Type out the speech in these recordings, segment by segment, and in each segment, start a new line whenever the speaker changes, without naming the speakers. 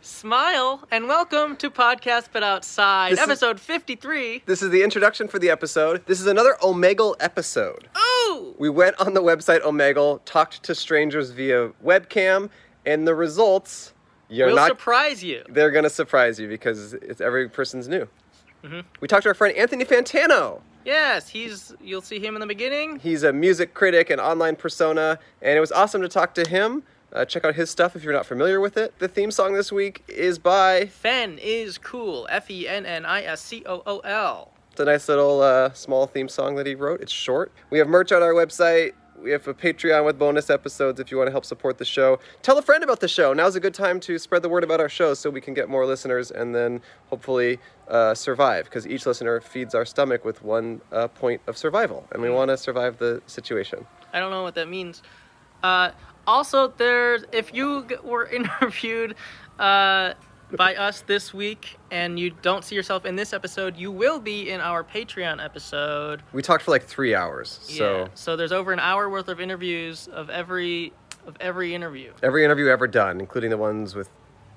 Smile and welcome to Podcast But Outside,
This is-
episode 53.
This is the introduction for the episode. This is another Omegle episode.
Ooh!
We went on the website Omegle, talked to strangers via webcam, and the results you're
We'll
not
surprise you.
they're going to surprise you because it's every person's new. We talked to our friend Anthony Fantano.
Yes, he's, you'll see him in the beginning.
He's a music critic and online persona, and it was awesome to talk to him. Uh, check out his stuff if you're not familiar with it. The theme song this week is by
Fen is cool. F E N N I S C O O L.
It's a nice little uh, small theme song that he wrote. It's short. We have merch on our website. We have a Patreon with bonus episodes if you want to help support the show. Tell a friend about the show. Now's a good time to spread the word about our show so we can get more listeners and then hopefully uh, survive because each listener feeds our stomach with one uh, point of survival and we want to survive the situation.
I don't know what that means. Uh, also, there's if you g- were interviewed uh, by us this week and you don't see yourself in this episode, you will be in our Patreon episode.
We talked for like three hours. So
yeah. so there's over an hour worth of interviews of every of every interview
every interview ever done, including the ones with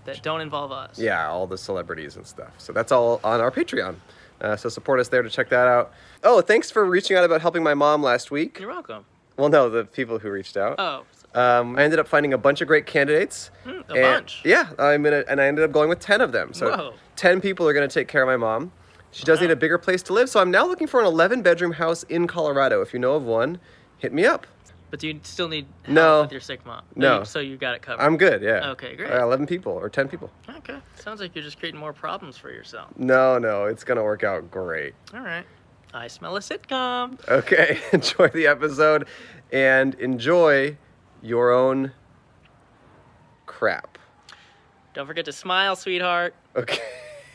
that don't involve us.
yeah, all the celebrities and stuff. So that's all on our Patreon. Uh, so support us there to check that out. Oh, thanks for reaching out about helping my mom last week.
You're welcome.
Well, no, the people who reached out.
Oh, hmm,
Um, I ended up finding a bunch of great candidates.
a
and-
bunch.
Yeah, I'm in a, and I ended up going with ten of them. So
Whoa.
ten people are going to take care of my mom. She does
Wow.
need a bigger place to live, so I'm now looking for an 11 bedroom house in Colorado. If you know of one, hit me up.
but do you still need help
No.
with your sick mom?
No.
You- So you got it covered.
I'm good. Yeah.
Okay, great.
Uh, 11 people or 10 people.
okay. Sounds like you're just creating more problems for yourself.
No, no, it's going to work out great.
All right. I smell a sitcom.
Okay, enjoy the episode and enjoy your own crap.
Don't forget to smile, sweetheart.
Okay.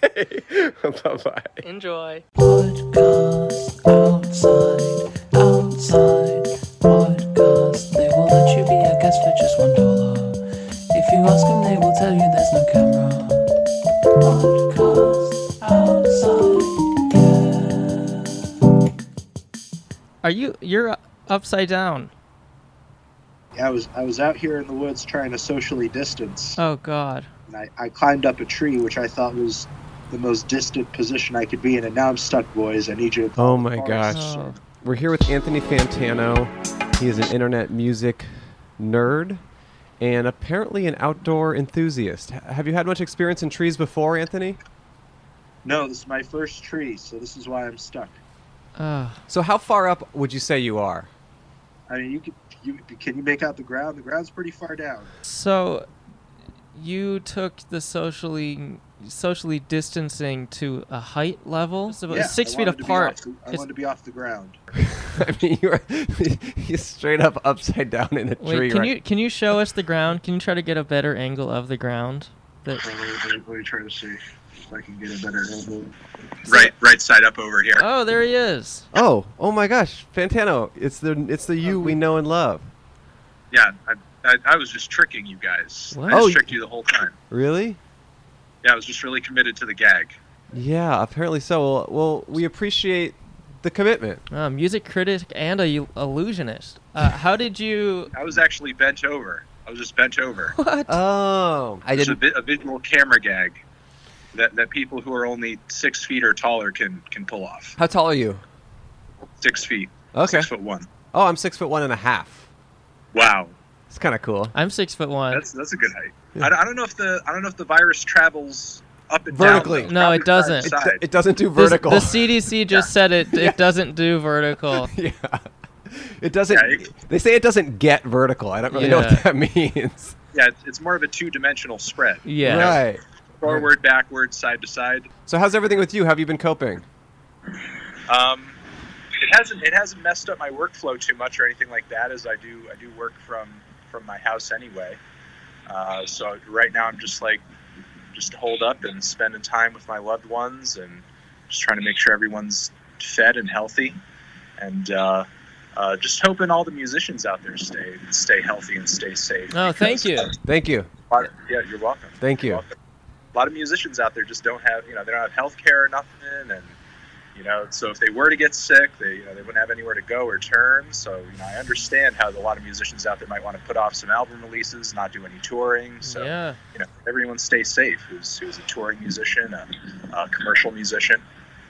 bye bye.
Enjoy.
Podcast outside, outside podcast. They will let you be a guest for just one dollar. If you ask them, they will tell you there's no camera. Podcast outside. Yeah.
Are you? You're upside down.
I was I was out here in the woods trying to socially distance,
Oh God.
and I, I climbed up a tree, which I thought was the most distant position I could be in, and now I'm stuck, boys. I need you. to
Oh my
gosh.
Oh.
We're here with Anthony Fantano. He is an internet music nerd and apparently an outdoor enthusiast. H- Have you had much experience in trees before, Anthony?
No, this is my first tree, so this is why I'm stuck.
So, how far up would you say you are?
I mean, you could you can you make out the ground? The ground's pretty far down.
So, you took the socially socially distancing to a height level, so about
Yeah,
six
I
feet
wanted to be
apart.
off the- I
Is-
wanted to be off the ground.
I mean, you're, you're straight up upside down in a tree.
Wait, can
right?
you can you show us the ground? Can you try to get a better angle of the ground?
So
That-
let, me, let me- let me try to see if I can get a better angle.
right right side up over here.
oh, there he is.
Oh, oh my gosh, Fantano! It's the it's the
Oh.
you we know and love.
yeah, I, I, I was just tricking you guys. I
What?
just
Oh,
tricked you the whole time.
Really?
Yeah, I was just really committed to the gag.
Yeah, apparently so. Well, well we appreciate the commitment.
Uh, music critic and a u- illusionist. Uh, how did you?
I was actually bent over. I was just bent over.
What?
Oh, I
It's a,
didn't.
vi- a visual camera gag that, that people who are only six feet or taller can can pull off.
How tall are you?
Six feet.
Okay.
Six foot one.
Oh, I'm six foot one and a half.
Wow,
It's kind of cool.
I'm six foot one.
that's that's a good height. I don't- I, don't know if the I don't know if the virus travels up and
Vertically.
Down, though.
No, it
Probably
doesn't.
It,
side to
do-
side.
it doesn't do
This-
vertical.
The CDC just said it. It doesn't do vertical.
yeah. It doesn't.
Yeah, it-
they say it doesn't get vertical. I don't really know
Yeah.
what that means.
yeah, it's, it's more of a two dimensional spread.
Yeah.
Right.
Forward, backward, side to side.
So how's everything with you? Have you been coping?
Um, it hasn't it hasn't messed up my workflow too much or anything like that, as I do I do work from from my house anyway. Uh, so right now I'm just like just holed up and spending time with my loved ones and just trying to make sure everyone's fed and healthy, and uh, uh, just hoping all the musicians out there stay stay healthy and stay safe.
Oh,
because,
thank you.
uh,
Thank you.
a lot of- yeah, you're welcome.
Thank
You're
you.
welcome. A lot of musicians out there just don't have, you know, they don't have health care or nothing, and you You know, so if they were to get sick, they you know they wouldn't have anywhere to go or turn. So you know, I understand how a lot of musicians out there might want to put off some album releases, not do any touring. So
yeah.
you know, everyone stay safe. Who's who's a touring musician, a, a commercial musician.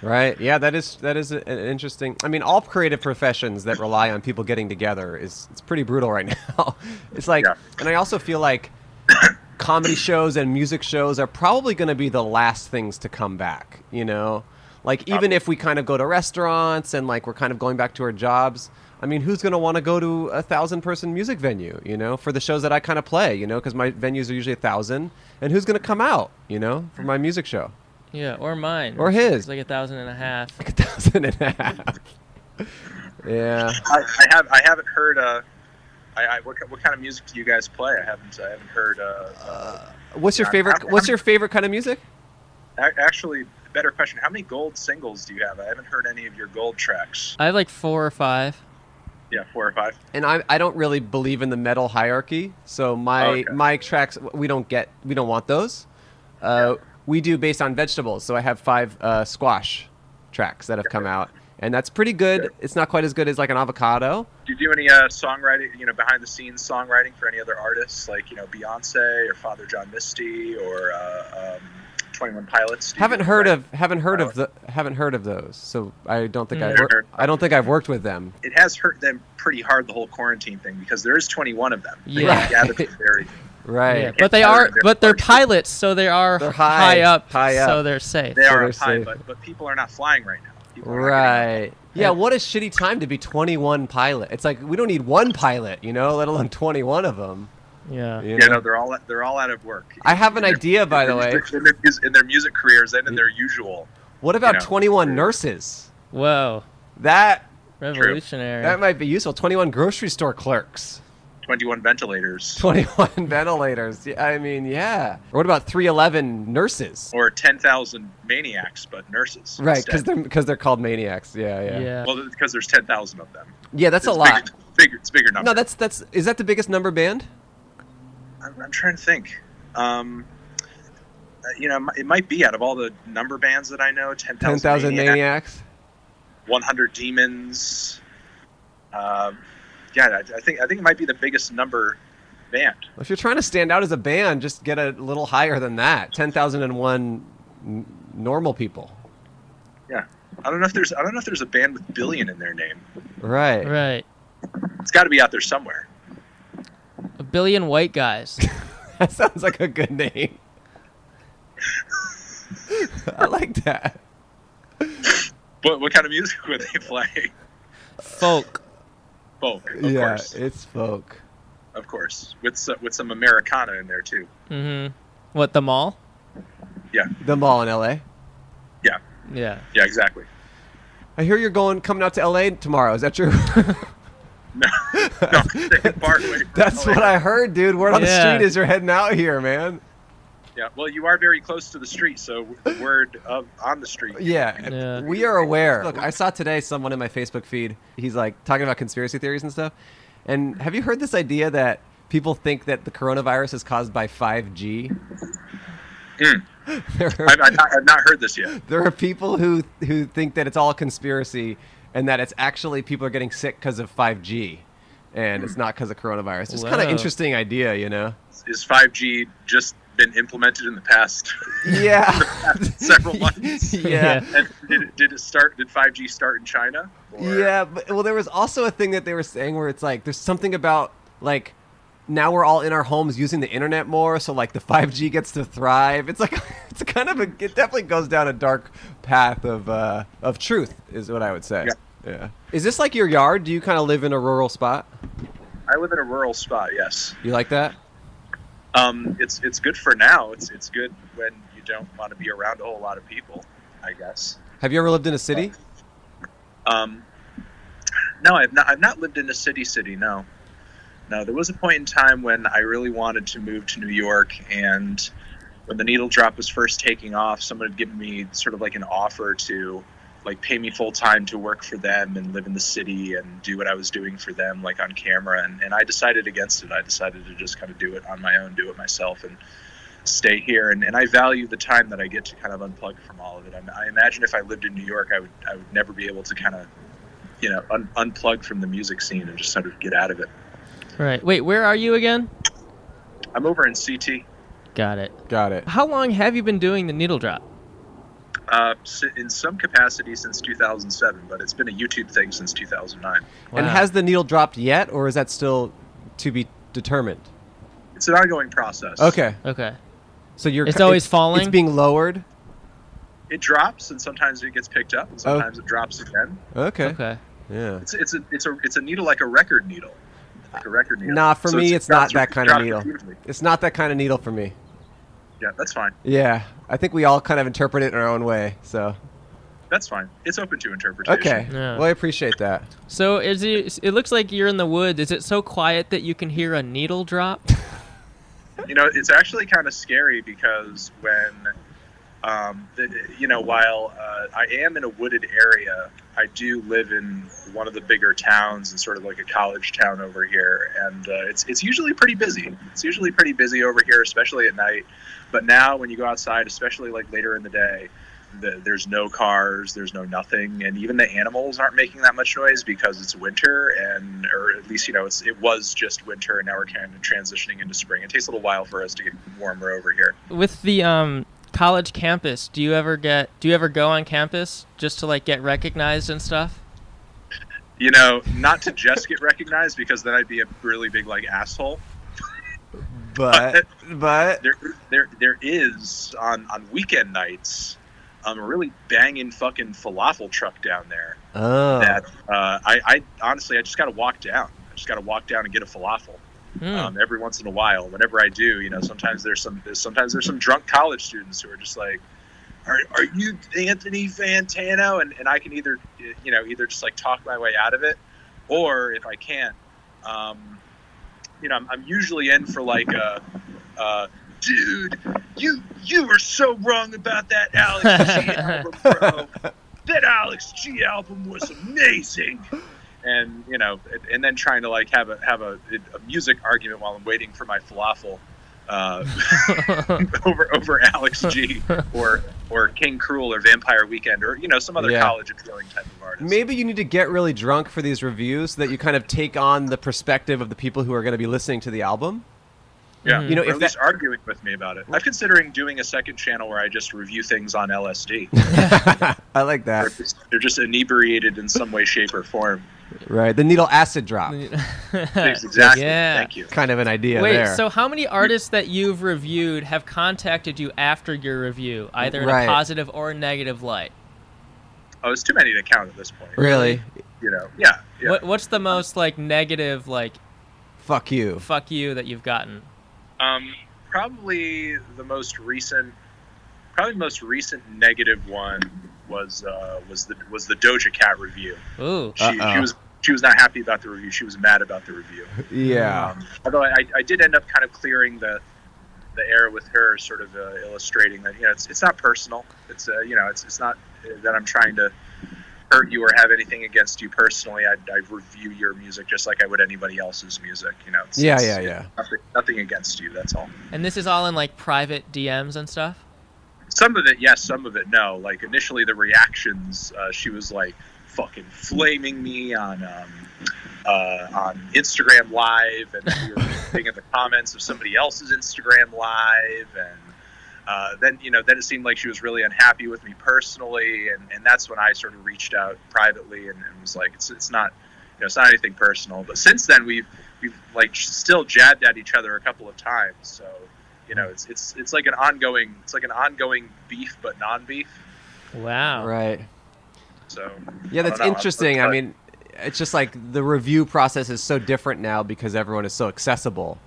Right. Yeah, that is that is a- an interesting. I mean, all creative professions that rely on people getting together is it's pretty brutal right now. It's like,
Yeah.
and I also feel like comedy shows and music shows are probably going to be the last things to come back. You know, like even if we kind of go to restaurants and like we're kind of going back to our jobs. I mean, who's going to want to go to a thousand person music venue? You know, for the shows that I kind of play. You know, because my venues are usually a thousand, and who's going to come out? You know, for my music show.
Yeah, or mine.
Or
which
his.
is like a thousand and a half.
like a thousand and a half. yeah.
I, I have I haven't heard. Uh, I, I what, ki- what kind of music do you guys play? I haven't I haven't heard. Uh, uh,
What's your favorite? What's your favorite kind of music?
a- actually, better question. How many gold singles do you have? I haven't heard any of your gold tracks.
I have like four or five.
Yeah, four or five.
And I, I don't really believe in the metal hierarchy, so my
Okay.
my tracks we don't get we don't want those. Uh, we do based on vegetables, so I have five uh, squash tracks that have come out, and that's pretty good. It's not quite as good as like an avocado.
Do you do any uh, songwriting? You know, behind the scenes songwriting for any other artists, like you know Beyonce or Father John Misty or uh, um, Twenty One Pilots? Do you
haven't
do
heard
that?
of haven't heard of the haven't heard of those, so I don't think I
Mm.
wor- I don't think I've worked with them.
It has hurt them pretty hard the whole quarantine thing because there is twenty one of them. They
Yeah.
gathered from very-
Right.
Yeah, but they
They're-
are,
they're
but they're
partial.
pilots, so they are
They're high-
high, up,
high up.
so they're safe.
They
So
are
they're
up high,
safe.
but, but people are not flying right now. People are not getting on
Right. Yeah, what a shitty time to be 21 pilot. It's like we don't need one pilot, you know, let alone 21 of them.
Yeah.
you
Yeah,
know?
no, they're all they're all out of work.
I have an
In their-
idea, by
in
the
their
way.
music- in, their, mus- in their music careers and in their usual.
What about
you know,
21 nurses?
Whoa,
That
revolutionary.
that might be useful. 21 grocery store clerks.
Twenty-one ventilators
21 ventilators. Yeah, I mean, yeah. Or what about 311 nurses?
or ten thousand maniacs, but nurses.
Right,
instead.
cuz they're cuz they're called maniacs. Yeah, yeah. Yeah,
yeah.
well, because there's ten thousand of them.
that's a
It's
lot.
Bigger, bigger, it's a bigger number.
No, that's that's is that the biggest number band?
I'm, I'm trying to think. Um, uh, you know, it might be out of all the number bands that I know, ten
10,000
thousand maniacs,
maniacs.
one hundred demons. Um, yeah, I, I think I think it might be the biggest number band.
If you're trying to stand out as a band, just get a little higher than that. 10,001 n- normal people.
Yeah, I don't know if there's I don't know if there's a band with billion in their name.
Right.
Right.
It's got to be out there somewhere.
A billion white guys.
That sounds like a good name. I like that.
What what kind of music were they playing?
Folk.
Folk, of
yeah,
course,
it's folk.
of course, with some, with some Americana in there too.
Mm-hmm. What, the mall?
Yeah,
The mall in LA.
yeah,
Yeah.
yeah, exactly.
I hear you're going coming out to LA tomorrow. Is that true?
No, no, stay far away from
That's
LA.
what I heard, dude. Word on the
Yeah.
street is you're heading out here, man.
Yeah, well, you are very close to the street, so the word of on the street.
Yeah,
Yeah.
we are aware. Look, I saw today someone in my Facebook feed. He's like talking about conspiracy theories and stuff. And have you heard this idea that people think that the coronavirus is caused by 5G?
Mm.
There are,
I've, I've, not, I've not heard this yet.
there are people who who think that it's all a conspiracy and that it's actually people are getting sick because of 5G, and it's not because of coronavirus. It's kind of
Wow.
interesting idea, you know?
Is 5G just been implemented in the past
Yeah.
several months?
yeah.
And did, it, did it start? Did 5G start in China? Or-
Yeah, but well, there was also a thing that they were saying where it's like there's something about like now we're all in our homes using the internet more, so like the 5G gets to thrive. It's like it's kind of a it definitely goes down a dark path of uh, of truth is what I would say.
Yeah.
yeah. Is this like your yard? Do you kind of live in a rural spot?
I live in a rural spot. Yes,
You like that?
um, it's it's good for now. It's it's good when you don't want to be around a whole lot of people. I guess.
Have you ever lived in a city?
Uh, Um, no, I've not. I've not lived in a city. City. No, no. There was a point in time when I really wanted to move to New York, and when the needle drop was first taking off, someone had given me sort of like an offer to like pay me full time to work for them and live in the city and do what I was doing for them like on camera and, and I decided against it. I decided to just kind of do it on my own, do it myself and stay here, and, and I value the time that I get to kind of unplug from all of it. I, I imagine if I lived in New York, I would I would never be able to kind of you know un, unplug from the music scene and just sort of get out of it.
Right. Wait, where are you again?
I'm over in CT
Got it.
Got it.
How long have you been doing the needle drop?
uh, s- in some capacity since 2007, but it's been a YouTube thing since 2009.
And
Wow.
has the needle dropped yet, or is that still to be determined?
It's an ongoing process.
Okay.
Okay.
So you're.
It's always falling?
It's being lowered.
It drops, and sometimes it gets picked up, and
Oh.
sometimes it drops again.
Okay.
Okay.
Yeah.
It's it's a it's a it's a needle like a record needle, like a record needle.
Nah, for
So
me,
it
it's not
drops-
that kind
it
of
drops
needle.
repeatedly.
It's not that kind of needle for me.
Yeah, that's fine.
Yeah. I think we all kind of interpret it in our own way. So
That's fine. It's open to interpretation.
okay.
Yeah.
Well, I appreciate that.
So is it? It looks like you're in the woods. Is it so quiet that you can hear a needle drop?
you know it's actually kind of scary because when um, the, you know while uh, i am in a wooded area i do live in one of the bigger towns and sort of like a college town over here and uh, it's, it's usually pretty busy it's usually pretty busy over here especially at night but now when you go outside especially like later in the day the, there's no cars there's no nothing and even the animals aren't making that much noise because it's winter and or at least you know it's it was just winter and now we're kind of transitioning into spring it takes a little while for us to get warmer over here
With the um college campus, do you ever get? Do you ever go on campus just to like get recognized and stuff?
you know not to just get recognized because then i'd be a really big like asshole
But but
there there there is on on weekend nights um, a really banging fucking falafel truck down there
oh.
that uh, I, I honestly I just got to walk down. I just got to walk down and get a falafel
Hmm.
um, every once in a while. Whenever I do, you know, sometimes there's some there's, sometimes there's some drunk college students who are just like, "Are, are you Anthony Fantano?" And and I can either you know either just like talk my way out of it, or if I can't, um, you know, I'm, I'm usually in for like a. Uh, Dude, you you were so wrong about that Alex G album, bro that Alex G album was amazing. And you know, and, and then trying to like have a have a, a music argument while I'm waiting for my falafel uh, over over Alex G or or King Cruel or Vampire Weekend or you know some other
Yeah.
college appealing type of artist.
Maybe you need to get really drunk for these reviews so that you kind of take on the perspective of the people who are going to be listening to the album.
yeah,
Mhm.
Mm. You know,
or
if
at least
that-
arguing with me about it. I'm considering doing a second channel where I just review things on LSD.
I like
they're,
that.
just, they're just inebriated in some way, shape, or form.
Right. The needle acid drop.
Exactly.
Yeah.
Thank you.
Kind of an idea
Wait,
there.
so how many artists that you've reviewed have contacted you after your review, either in
Right.
a positive or a negative light?
Oh, it's too many to count at this point.
really?
You know. Yeah. yeah.
What what's the most like negative like
Fuck you.
fuck you that you've gotten?
Um, probably the most recent, probably the most recent negative one was uh, was the was the Doja Cat review.
Ooh.
She,
Uh-oh.
she was she was not happy about the review. She was mad about the review.
Yeah.
Um, although I, I did end up kind of clearing the the air with her, sort of uh, illustrating that you know it's, it's not personal. It's uh, you know it's it's not uh, that I'm trying to hurt you or have anything against you personally. I, I review your music just like I would anybody else's music. You know. It's,
Yeah,
it's-
yeah,
it's
yeah.
Nothing, nothing against you. That's all.
And this is all in like private DMs and stuff?
some of it yes some of it no like initially the reactions uh, she was like fucking flaming me on um, uh, on instagram live and then we were looking at the comments of somebody else's instagram live and uh, then you know then it seemed like she was really unhappy with me personally and, and that's when i sort of reached out privately and, and was like it's, it's not you know it's not anything personal but since then we've we've like still jabbed at each other a couple of times so you know it's it's it's like an ongoing it's like an ongoing beef but non-beef
Wow.
Right. Yeah,
so I don't
that's
know.
interesting. I
But-
mean, it's just like the review process is so different now because everyone is so accessible.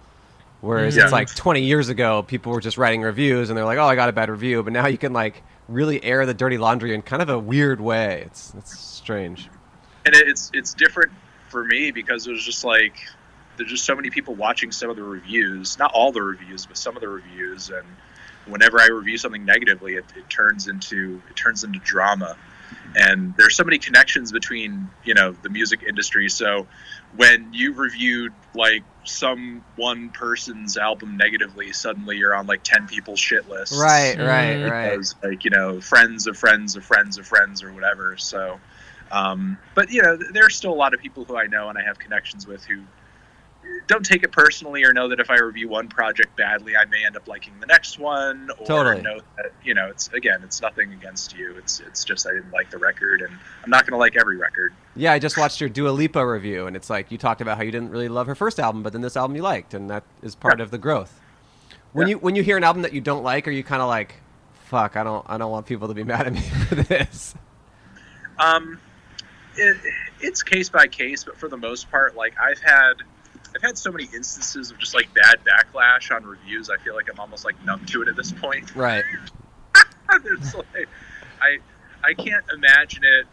Whereas
Yeah.
it's like 20 years ago, people were just writing reviews and they're like, "Oh, I got a bad review," but now you can like really air the dirty laundry in kind of a weird way. It's it's strange.
and it- it's it's different for me because it was just like there's just so many people watching some of the reviews not all the reviews but some of the reviews and whenever i review something negatively it, it turns into it turns into drama and there's so many connections between you know the music industry so when you reviewed like some one person's album negatively suddenly you're on like 10 people's shit lists
Right, right,
Mm.
right.
as like you know friends of friends of friends of friends or whatever so um, but you know th- there are still a lot of people who i know and i have connections with who don't take it personally or know that if i review one project badly i may end up liking the next one or
Totally.
know that you know it's again it's nothing against you it's it's just i didn't like the record and i'm not going to like every record
Yeah, I just watched your Dua Lipa review, and it's like you talked about how you didn't really love her first album, but then this album you liked, and that is part of the growth. When
Yeah.
you when you hear an album that you don't like, are you kind of like, "Fuck, I don't I don't want people to be mad at me for this"?
Um, it, it's case by case, but for the most part, like I've had, I've had so many instances of just like bad backlash on reviews. I feel like I'm almost like numb to it at this point.
Right.
There's like, I, I can't imagine it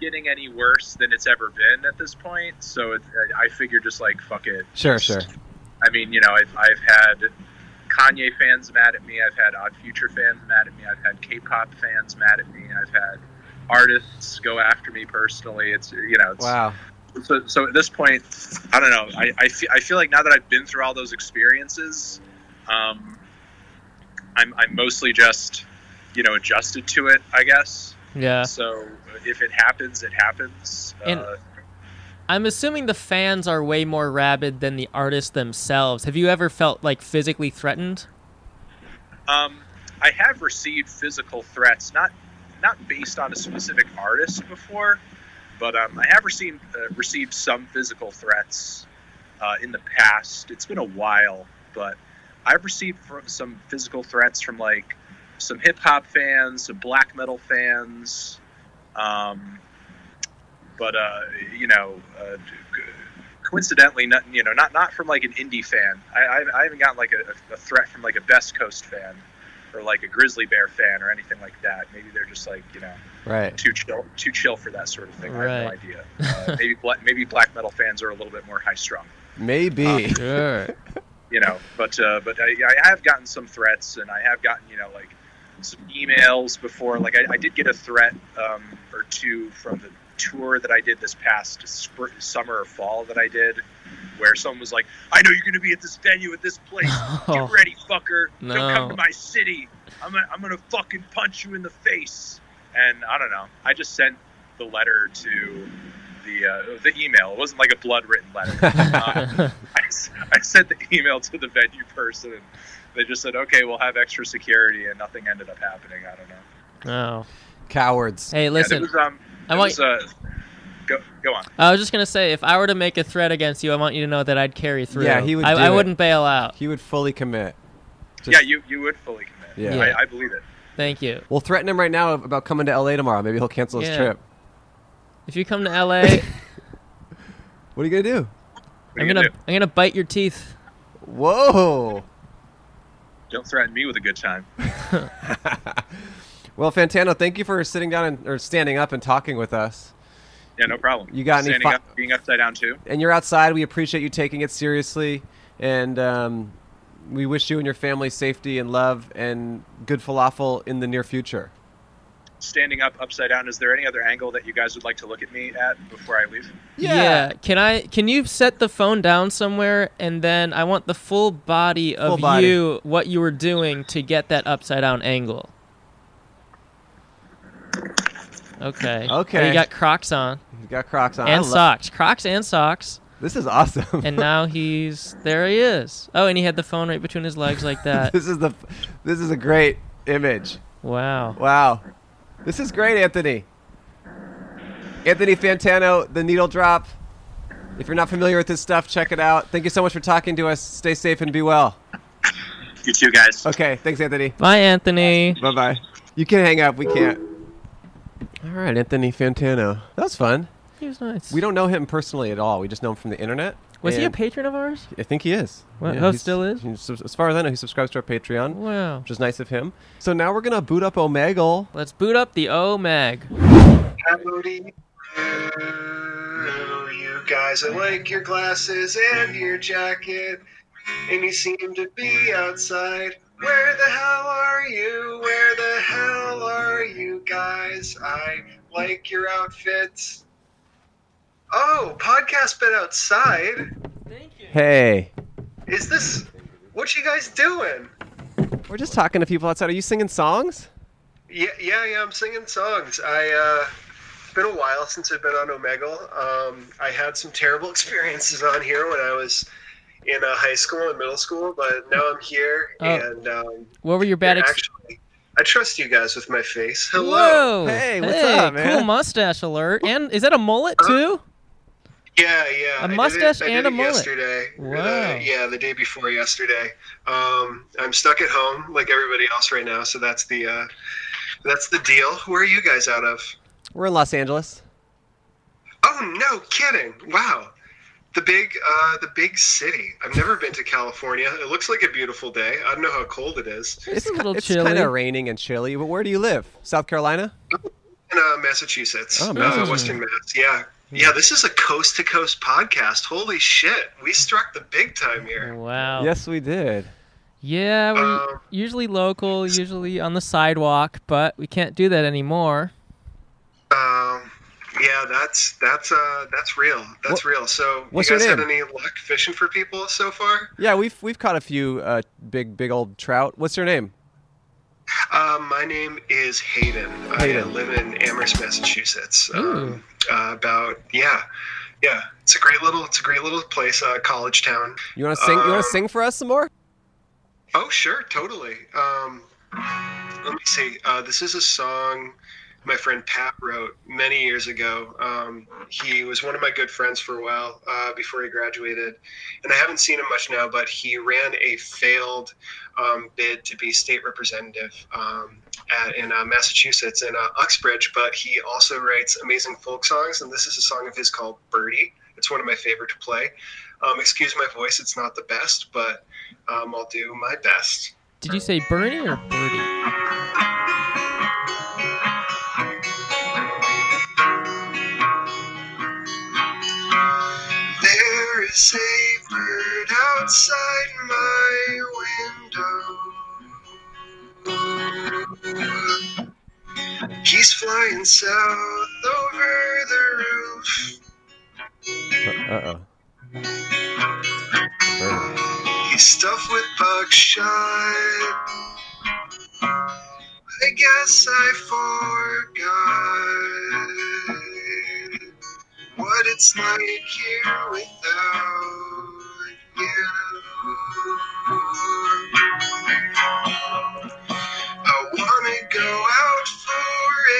getting any worse than it's ever been at this point. So it, I I figure just like fuck it.
Sure, sure.
I mean, you know, I've, I've had Kanye fans mad at me. I've had Odd Future fans mad at me. I've had K-pop fans mad at me. I've had artists go after me personally. It's you know, it's,
Wow.
so, so at this point, I don't know. I, I, fe- I feel like now that I've been through all those experiences, um, I'm, I'm mostly just you know adjusted to it, I guess.
Yeah.
So if it happens, it happens.
And-
uh,
I'm assuming the fans are way more rabid than the artists themselves. Have you ever felt like physically threatened?
Um, I have received physical threats, not not based on a specific artist before, but um, I have received uh, received some physical threats uh, in the past. It's been a while, but I've received fr- some physical threats from like some hip hop fans, some black metal fans. Um, but uh, you know, uh, coincidentally, not you know, not not from like an indie fan. I I, I haven't gotten like a, a threat from like a Best Coast fan, or like a Grizzly Bear fan, or anything like that. Maybe they're just like you know
Right.
too chill, too chill for that sort of thing. I have
Right.
no idea. Uh, maybe bla- maybe black metal fans are a little bit more high strung
Maybe.
Sure.
you know but uh, but I, I have gotten some threats and i have gotten you know like some emails before like i, I did get a threat um, or two from the tour that i did this past spr summer or fall that i did where someone was like i know you're going to be at this venue at this place
Oh.
get ready fucker
No.
don't come to my city i'm gonna, I'm gonna fucking punch you in the face and i don't know i just sent the letter to the uh, the email it wasn't like a blood-written letter Uh, I, s- I sent the email to the venue person and they just said okay we'll have extra security and nothing ended up happening i don't know
oh.
Cowards.
Yeah,
Hey,
there
listen.
was, um,
I
there
want-
was, uh, go, go on
I was just gonna say, if I were to make a threat against you, I want you to know that I'd carry through.
Yeah, he would
I,
do
I
it.
wouldn't bail out.
He would fully commit. Just-
yeah you, you would fully commit
Yeah.
I, I believe it
Thank you.
We'll threaten him right now about coming to LA tomorrow. Maybe he'll cancel his
Yeah.
trip.
If you come to LA,
What are you gonna do?
what
I'm
are you
gonna
do?
I'm gonna bite your teeth.
Oh.
Whoa.
don't threaten me with a good time
Well, Fantano, thank you for sitting down and, or standing up and talking with us.
yeah no problem
You got any
standing
fi-
up being upside down too
and you're outside. We appreciate you taking it seriously, and um, we wish you and your family safety and love and good falafel in the near future.
standing up upside down is there any other angle that you guys would like to look at me at before i leave
Can I? Can you set the phone down somewhere, and then I want the full body of
Full body.
you, what you were doing to get that upside down angle. Okay. Oh,
Okay.
you got Crocs on
you got Crocs on. I
and
lo-
socks. Crocs and socks.
This is awesome.
And now he's there. He is. Oh, and he had the phone right between his legs like that.
this is the this is a great image.
Wow.
Wow, this is great, Anthony. Anthony Fantano, the needle drop. If you're not familiar with this stuff, check it out. Thank you so much for talking to us. Stay safe and be well.
you too guys
Okay, thanks, Anthony.
Bye, Anthony.
Bye bye. You can hang up. We can't. All right, Anthony Fantano. That was fun.
He was nice.
We don't know him personally at all. We just know him from the internet.
Was he a
and
patron of ours?
I think he is.
Well, oh,
he's-
still is?
he's- as far as I know, he subscribes to our Patreon,
Wow.
which is nice of him. So now we're gonna boot up Omegle.
Let's boot up the O Mag.
Howdy. Hello, you guys. I like your glasses and your jacket. And you seem to be outside. Where the hell are you? Where the hell are you guys?
guys. I like your outfits. Oh, podcast been outside.
Thank you.
Hey,
Is this what you guys doing?
we're just talking to people outside. Are you singing songs?
Yeah, yeah, yeah. I'm singing songs. I uh, it's been a while since I've been on Omegle. Um, I had some terrible experiences on here when I was in uh, high school and middle school, but now I'm here
Oh.
and um,
What were your bad
and
ex-
actually, I trust you guys with my face. Hello.
Whoa!
Hey, what's up, man?
Cool mustache alert. And is that a mullet too?
Yeah, yeah.
A
I did it-
mustache
I did
and a
it
mullet.
Yesterday. or the-
Wow.
yeah, the day before yesterday. Um, I'm stuck at home like everybody else right now, so that's the uh, that's the deal. Where are you guys out of?
We're in Los Angeles.
Oh no, kidding! Wow, the big uh, the big city. I've never been to California. It looks like a beautiful day. I don't know how cold it is.
It's, a little
it's
chilly.
kind of raining and chilly. But where do you live? South Carolina?
In uh, Massachusetts,
Oh,
Uh,
Massachusetts.
Western Mass. Yeah. Yeah, this is a coast to coast podcast. Holy shit, we struck the big time here.
Wow.
Yes, we did.
Oh. Yeah, we're
Um,
usually local, usually on the sidewalk, but we can't do that anymore.
Um, yeah, that's that's uh that's real. That's real. So
what's
you guys
your
had
name?
any luck fishing for people so far?
Yeah, we've we've caught a few uh, big big old trout. What's your name?
Uh, my name is Hayden. I
Hayden.
live in Amherst, Massachusetts.
Ooh.
Um, uh, about yeah, yeah. It's a great little it's a great little place. Uh, college town.
You want to sing? you
Um,
want to sing for us some more?
Oh sure, totally. Um, let me see. Uh, this is a song my friend Pat wrote many years ago. Um, he was one of my good friends for a while uh, before he graduated, and I haven't seen him much now. But he ran a failed um, bid to be state representative um, at, in uh, Massachusetts in uh, Uxbridge. But he also writes amazing folk songs, and this is a song of his called "Birdie." It's one of my favorite to play. Um, excuse my voice; it's not the best, but um, I'll do my best.
Did you say Bernie or Birdie?
There is a bird outside my window. He's flying south over the roof.
Uh oh.
He's stuffed with buckshot. I guess I forgot what it's like here without you. I wanna go out for a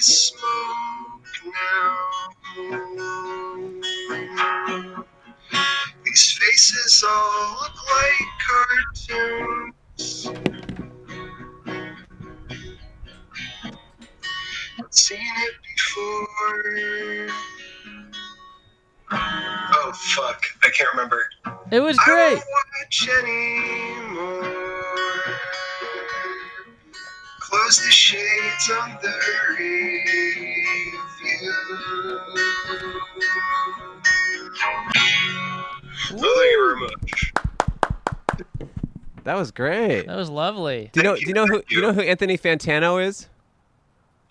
smoke now. These faces all look like cartoons. I've seen it before. Oh fuck, I can't remember.
It was
I
great.
won't watch anymore. Close the shades on the review. Well, thank you very much.
That was great.
That was lovely.
Do you know?
Thank
Do
you,
you know who?
thank
You
you.
know who Anthony Fantano is?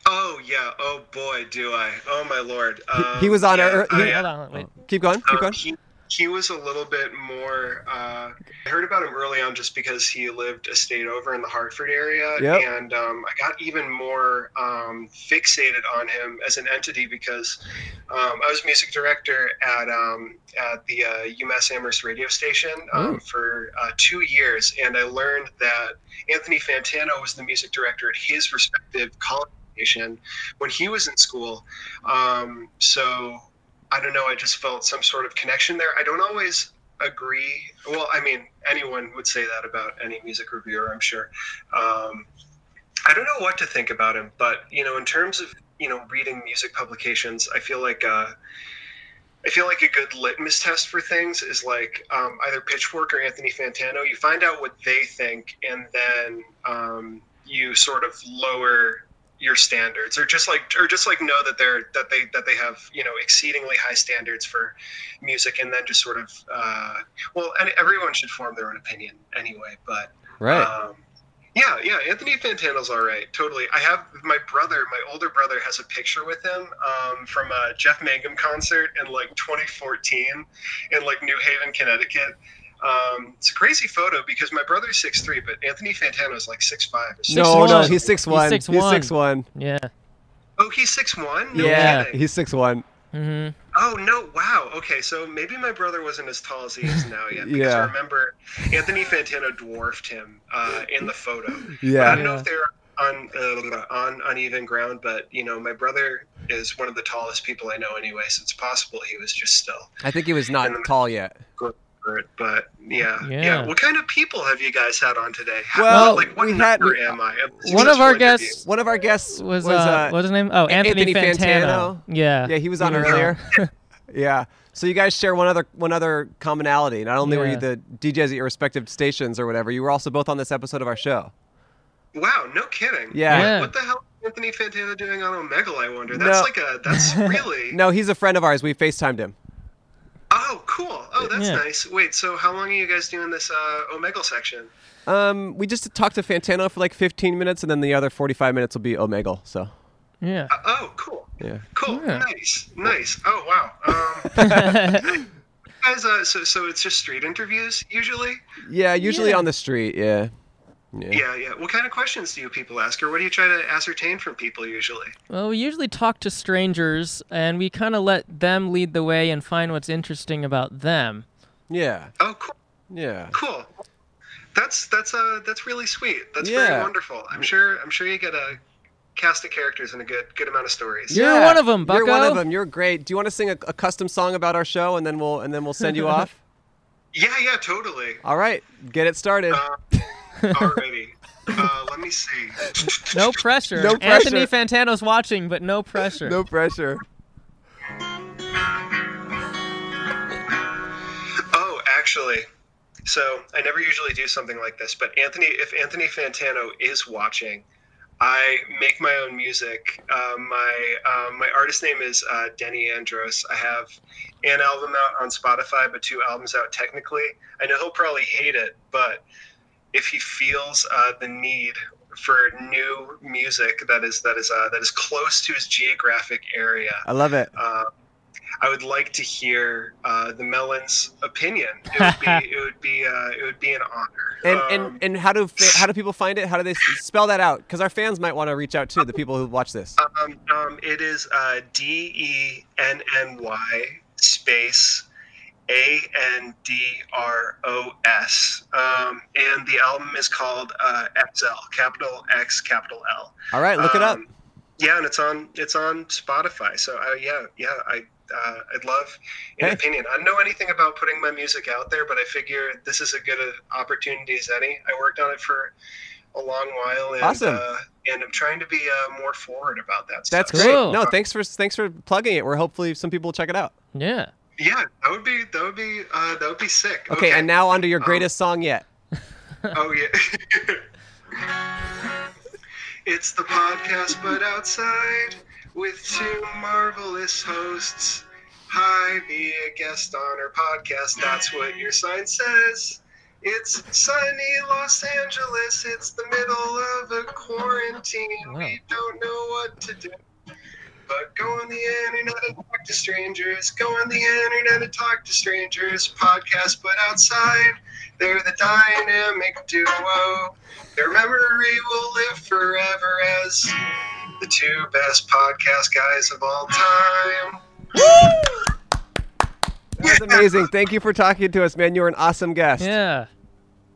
Oh yeah. Oh boy, do I. Oh my lord. Um,
he was on
yeah,
our-
I,
he- Oh.
Hold on, wait.
Keep going. Keep
um,
going.
he, he was a little bit more. Uh, I heard about him early on just because he lived a state over in the Hartford area,
Yep.
and um, I got even more um, fixated on him as an entity because um, I was music director at um, at the uh, UMass Amherst radio station um, for uh, two years, and I learned that Anthony Fantano was the music director at his respective college station when he was in school. Um, so I don't know. I just felt some sort of connection there. I don't always agree. Well, I mean, anyone would say that about any music reviewer, I'm sure. Um, I don't know what to think about him, but you know, in terms of you know reading music publications, I feel like uh, I feel like a good litmus test for things is like um, either Pitchfork or Anthony Fantano. You find out what they think, and then um, you sort of lower your standards, or just like, or just like know that they're that they that they have you know exceedingly high standards for music, and then just sort of uh, well, and everyone should form their own opinion anyway, but
Right.
um, yeah, yeah. yeah, Anthony Fantano's all right. Totally. I have my brother, my older brother, has a picture with him um, from a Jeff Mangum concert in like 2014 in like New Haven, Connecticut. Um, it's a crazy photo because my brother's 6'3", but Anthony Fantano is like 6'5". or 6'1".
No, no,
one.
he's six one.
He's
He's
6'1".
six one.
Yeah.
Oh, he's 6'1"? No
Yeah.
kidding.
He's six one.
Mm-hmm.
Oh no! Wow. Okay, so maybe my brother wasn't as tall as he is now yet. Because
Yeah.
I remember Anthony Fantano dwarfed him uh, in the photo. But I
Yeah.
don't know
Yeah.
if they're on uh, on uneven ground, but you know, my brother is one of the tallest people I know anyway, so it's possible he was just still.
I think he was not tall yet.
short, But yeah, yeah,
Yeah.
What kind of people have you guys had on today? How-
Well,
like what
we
number
had- we-
am I? of this
One of
successful
our
interview?
guests
One of our guests was,
was, uh,
uh,
what's his name? Oh, Anthony,
Anthony
Fantano.
Fantano.
Yeah.
yeah, he was on
He
earlier. yeah. So you guys share one other one other commonality. Not only were
Yeah.
you the DJs at your respective stations or whatever, you were also both on this episode of our show.
Wow, no kidding.
Yeah.
Yeah.
What the hell is Anthony Fantano doing on Omegle? I wonder. That's
No.
like a. That's really.
No, he's a friend of ours. We FaceTimed him.
Oh, cool. Oh, that's
Yeah.
nice. Wait, so how long are you guys doing this uh, Omegle section?
Um, we just talked to Fantano for like 15 minutes, and then the other 45 minutes will be Omegle. So
Yeah.
Uh, oh, cool.
yeah.
Cool.
Yeah.
Nice. Nice. Oh, wow. Um, you guys, uh, so, so it's just street interviews usually?
Yeah, usually
Yeah.
on the street. Yeah.
Yeah. yeah, What kind of questions do you people ask, or what do you try to ascertain from people usually?
Well, we usually talk to strangers and we kind of let them lead the way and find what's interesting about them.
Yeah.
Oh, cool.
Yeah.
Cool. That's that's uh that's really sweet. That's very
Yeah.
wonderful. I'm sure I'm sure you get a cast of characters and a good good amount of stories.
You're one of 'em,
You're one
bucko.
of them. You're great. Do you want to sing a, a custom song about our show, and then we'll and then we'll send you off?
Yeah, yeah, totally.
All right, get it started.
Uh, already. uh, let me see.
No pressure.
No
Anthony
pressure.
Fantano's watching, but no pressure.
no pressure.
Oh, actually. So I never usually do something like this, but Anthony, if Anthony Fantano is watching, I make my own music. Uh, my um, my artist name is uh, Denny Andros. I have an album out on Spotify, but two albums out technically. I know he'll probably hate it, but if he feels uh, the need for new music that is that is uh, that is close to his geographic area,
I love it.
uh, I would like to hear uh, the Melon's opinion. It would be, it would be, uh, it would be an honor.
And
Um,
and and how do fa- how do people find it? How do they s- spell that out? Because our fans might want to reach out too. The people who watch this.
um, um, it is uh, D E N N Y space A N D R O S, um, and the album is called uh, XL, capital X, capital L.
All right, look it up.
Um, Yeah, and it's on it's on Spotify. So uh, yeah, yeah, I uh, I'd love an
Hey.
opinion. I don't know anything about putting my music out there, but I figure this is a good uh, opportunity as any. I worked on it for a long while, and
Awesome.
uh, and I'm trying to be uh, more forward about that.
That's
stuff.
great.
Cool.
No, thanks for thanks for plugging it. Where hopefully some people will check it out.
Yeah.
Yeah, that would be that would be uh, that would be sick.
Okay, and now onto
Um,
your greatest song yet.
oh yeah. it's the podcast, but outside with two marvelous hosts. Hi, be a guest on our podcast. That's what your sign says. It's sunny Los Angeles. It's the middle of a quarantine.
Wow.
We don't know what to do. But go on the internet and talk to strangers. Go on the internet and talk to strangers. Podcast, but outside, they're the dynamic duo. Their memory will live forever as the two best podcast guys of all time.
That was amazing. Thank you for talking to us, man. You were an awesome guest.
Yeah.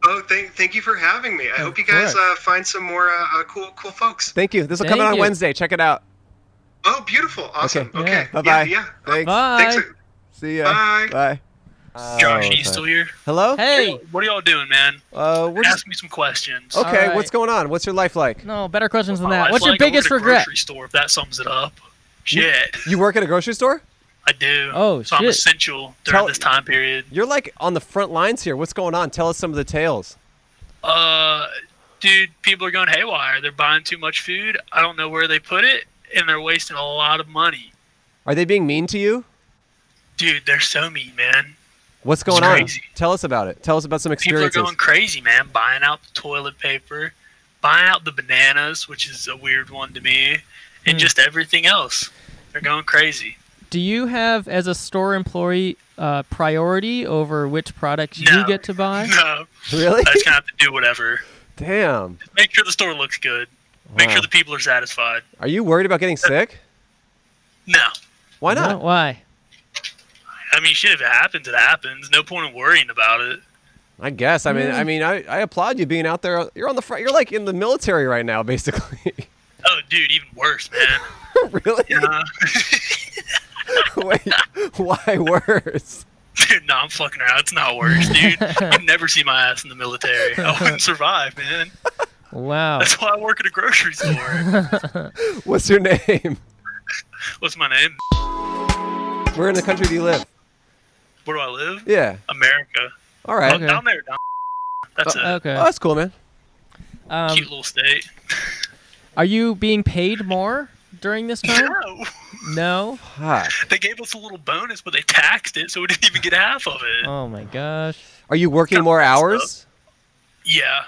Oh, thank, thank you for having me. I hope you guys
course.
uh, find some more uh, uh, cool cool folks.
Thank you. This will come
Thank
out on
you.
Wednesday. Check it out.
Oh, beautiful. Awesome.
Okay.
Okay.
Bye bye.
Yeah. yeah.
Thanks.
Bye.
Thanks.
See ya.
Bye.
Bye.
Josh,
Oh,
are you still here?
Hello?
Hey.
What are y'all doing, man?
Uh, we're just,
Ask me some questions.
All
okay,
right.
what's going on? What's your life like?
No, better questions than
My
that.
life's
What's your
like, I work
biggest
at a
regret?
Grocery store, if that sums it up. Shit,
You work at a grocery store?
I do.
Oh,
so I'm
shit.
essential during
Tell-
this time period.
You're like on the front lines here. What's going on? Tell us some of the tales.
Uh, dude, people are going haywire. They're buying too much food. I don't know where they put it, and they're wasting a lot of money.
Are they being mean to you?
Dude, they're so mean, man.
What's going on?
crazy.
Tell us about it. Tell us about some
People are
experiences.
going crazy, man. Buying out the toilet paper, buying out the bananas, which is a weird one to me, and
Hmm.
just everything else. They're going crazy.
Do you have, as a store employee, uh, priority over which products you
No.
get to buy?
No,
Really?
I just gonna have to do whatever.
Damn.
Make sure the store looks good. Make
Wow.
sure the people are satisfied.
Are you worried about getting sick?
No,
Why not?
No? Why?
I mean, shit. If it happens, it happens. No point in worrying about it.
I guess. I mean,
Mm.
I mean, I, I applaud you being out there. You're on the front. You're like in the military right now, basically.
Oh, dude, even worse, man.
really?
Yeah.
Wait, why worse?
Dude, no, I'm fucking around. It's not worse, dude. I'd never see my ass in the military. I wouldn't survive, man.
Wow.
That's why I work at a grocery store.
What's your name?
What's my name?
Where in the country do you live?
Where do I live?
Yeah.
America. Oh,
All right.
Okay.
Down there, down. That's a
Oh,
Okay.
that's cool, man.
Um,
cute little state.
are you being paid more during this time?
No,
No.
Fuck.
they gave us a little bonus, but they taxed it, so we didn't even get half of it.
Oh my gosh.
Are you working more hours?
Yeah.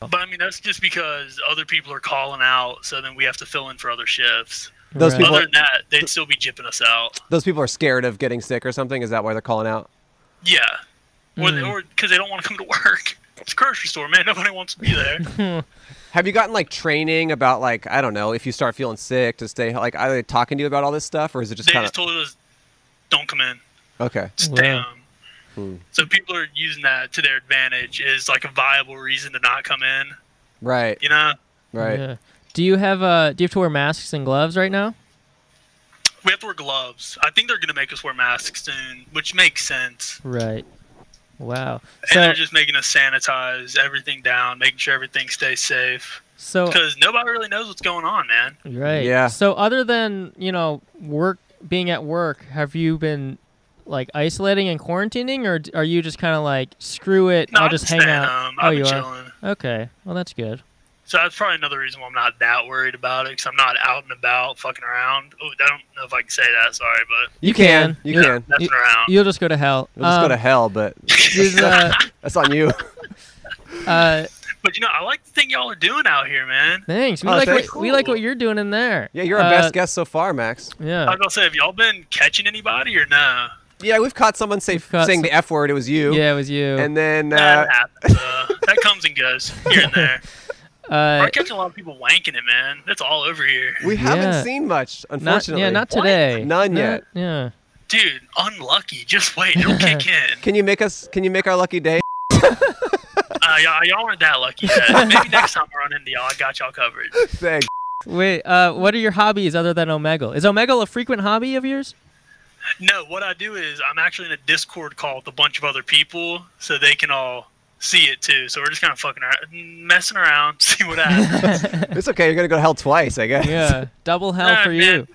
But I mean, that's just because other people are calling out, so then we have to fill in for other shifts.
Those
Right.
people.
Other than that, they'd still be jipping us out.
Those people are scared of getting sick or something. Is that why they're calling out?
Yeah. Or
Mm.
Or because they don't want to come to work. It's a grocery store, man. Nobody wants to be there.
Have you gotten like training about like I don't know if you start feeling sick to stay like are they talking to you about all this stuff or is it just
they
kind
just told us, don't come in.
of okay?
Stay
Wow.
home.
Hmm.
So people are using that to their advantage is like a viable reason to not come in.
Right,
You know,
right.
Yeah. Do you have uh? Do you have to wear masks and gloves right now?
we have to wear gloves. I think they're gonna make us wear masks soon, which makes sense.
Right. Wow.
and
So
they're just making us sanitize everything down, making sure everything stays safe.
so
Because nobody really knows what's going on, man.
right.
Yeah.
So other than you know work being at work, have you been like isolating and quarantining, or d- are you just kind of like screw it?
No,
I'll
I'm
just
staying
hang out.
home.
oh,
I've
you
been
are.
chilling.
Okay. Well, that's good.
So that's probably another reason why I'm not that worried about it, because I'm not out and about fucking around. Oh, I don't know if I can say that. Sorry, but
You can,
can.
you
Yeah.
can.
messing around.
You'll just go to hell.
We'll just go
Um,
to hell, but
is, uh,
that's on you.
uh,
But you know, I like the thing y'all are doing out here, man.
thanks. We
Oh,
like
thanks.
What, we like what you're doing in there.
Yeah, you're our
Uh,
best guest so far, Max.
I
Yeah.
was gonna say, have y'all been catching anybody or no?
Yeah, we've caught someone say,
We've caught
saying
some-
the F word. It was you.
Yeah, it was you.
And then, uh,
That happens. Uh, that comes and goes here and there.
uh,
I'm catching a lot of people wanking it, man. That's all over here,
we haven't
Yeah.
seen much,
not,
unfortunately.
yeah, not today.
None
Not-
yet.
Yeah.
dude. Unlucky. Just wait, it'll kick in.
Can you make us? Can you make our lucky day?
Uh, y'all, y'all aren't that lucky yet. Maybe next time I run into y'all, I got y'all covered.
Thanks.
Wait, uh, what are your hobbies other than Omegle? Is Omegle a frequent hobby of yours?
No, what I do is I'm actually in a Discord call with a bunch of other people, so they can all see it too. So we're just kind of fucking around, messing around, see what happens.
It's okay. You're gonna go to hell twice, I guess.
Yeah. Double hell
Nah,
for
man.
you.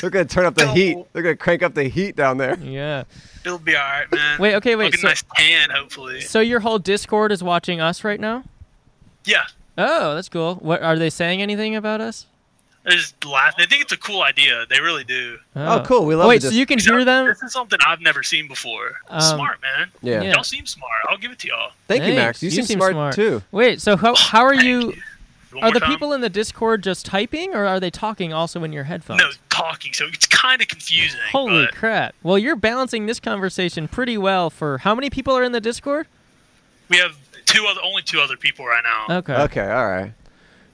They're gonna turn up the
No.
heat. They're gonna crank up the heat down there.
Yeah.
It'll be all right, man.
Wait, okay, wait.
Looking
So,
nice tan, hopefully.
so your whole Discord is watching us right now?
Yeah,
Oh, that's cool. What are they saying anything about us?
they're just laughing. They think it's a cool idea. They really do.
Oh, cool. We love
Wait,
the
so you can
These are-
hear them?
This is something I've never seen before.
Um,
smart, man.
Yeah.
yeah.
Y'all seem smart. I'll give it to y'all.
Thank you, Max.
Thanks.
You, seem, smart, too.
Wait, so how how are you?
Oh, One
Are
more
the
time.
people in the Discord just typing, or are they talking also in your headphones?
no talking? So it's kind of confusing.
Holy
but
crap! Well, you're balancing this conversation pretty well. For how many people are in the Discord?
we have two other, only two other people right now.
Okay.
Okay, all right.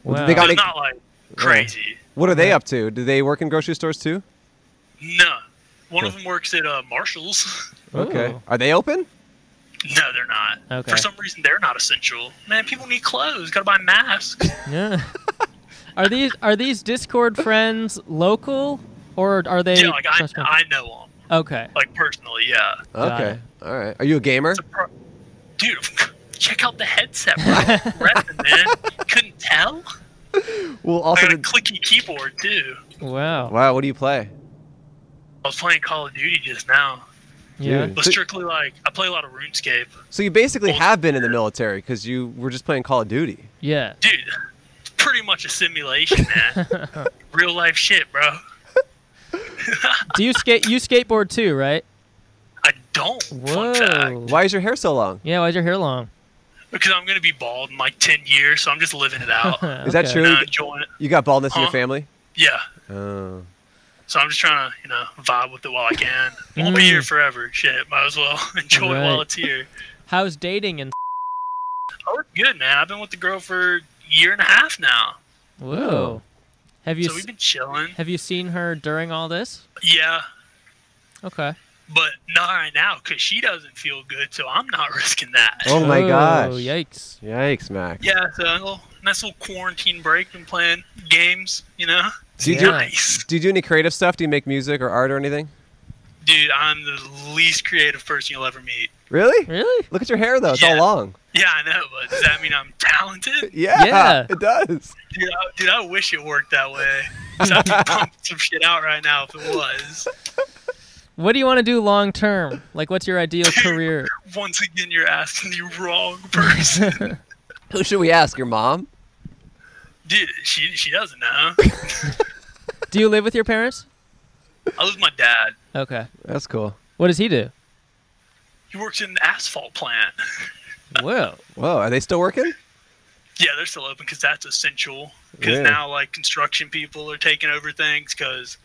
Well,
Wow.
they got
It's
it-
not like crazy.
What are they up to? Do they work in grocery stores too?
No. One of them works at uh, Marshalls.
Oh. Okay.
Ooh.
Are they open?
no, they're not.
Okay.
For some reason, they're not essential. Man, people need clothes. Gotta buy masks.
Yeah. are these are these Discord friends local, or are they?
yeah, like I, I know them.
okay.
Like personally, yeah.
Got
Okay. All right. Are you a gamer?
It's a pro- Dude, check out the headset. bro. Reppin', man. Couldn't tell?
Well,
I
also.
got a
The-
clicky keyboard, too.
Wow.
wow. What do you play?
I was playing Call of Duty just now.
Yeah.
Dude.
But
So-
strictly, like, I play a lot of RuneScape.
So you basically
Well,
have been in the military because you were just playing Call of Duty.
Yeah.
Dude, it's pretty much a simulation, man. Real life shit, bro.
Do you skate? You skateboard too, right?
I don't. Fun fact.
Whoa.
Why is your hair so long?
Yeah. Why's your hair long?
because I'm gonna be bald in like ten years, so I'm just living it out and
Is that
Okay.
true? You-
enjoying it.
You got baldness in your
Huh?
family?
Yeah,
Oh.
so I'm just trying to you know vibe with it while I can. Won't be here forever. Shit, might as well enjoy it while
Mm. Right.
it's here.
How's dating and
Oh, we're good, man. I've been with the girl for a year and a half now,
whoa? Have you
so
s-
we've been chilling.
have you seen her during all this?
Yeah,
Okay.
but not right now because she doesn't feel good, so I'm not risking that.
Oh my gosh.
Oh, yikes.
Yikes, Max.
Yeah, so a little, nice little quarantine break. Been playing games, you know.
Do you
Yeah.
Nice,
Do you do any creative stuff? Do you make music or art or anything?
dude. I'm the least creative person you'll ever meet.
Really?
Really?
Look at your hair though. It's all
Yeah.
long.
Yeah, I know, but does that mean I'm talented?
Yeah.
Yeah.
It does.
Dude, I, dude, I wish it worked that way. 'Cause I'd be pumping some shit out right now if it was.
What do you want to do long term? Like, what's your ideal career?
Once again, you're asking the wrong person.
Who should we ask? Your mom?
Dude, she she doesn't know.
Do you live with your parents?
I live with my dad.
Okay.
That's cool.
What does he do?
He works in an asphalt plant.
Whoa.
Whoa, are they still working?
Yeah, they're still open because that's essential. Because
Yeah.
now, like, construction people are taking over things because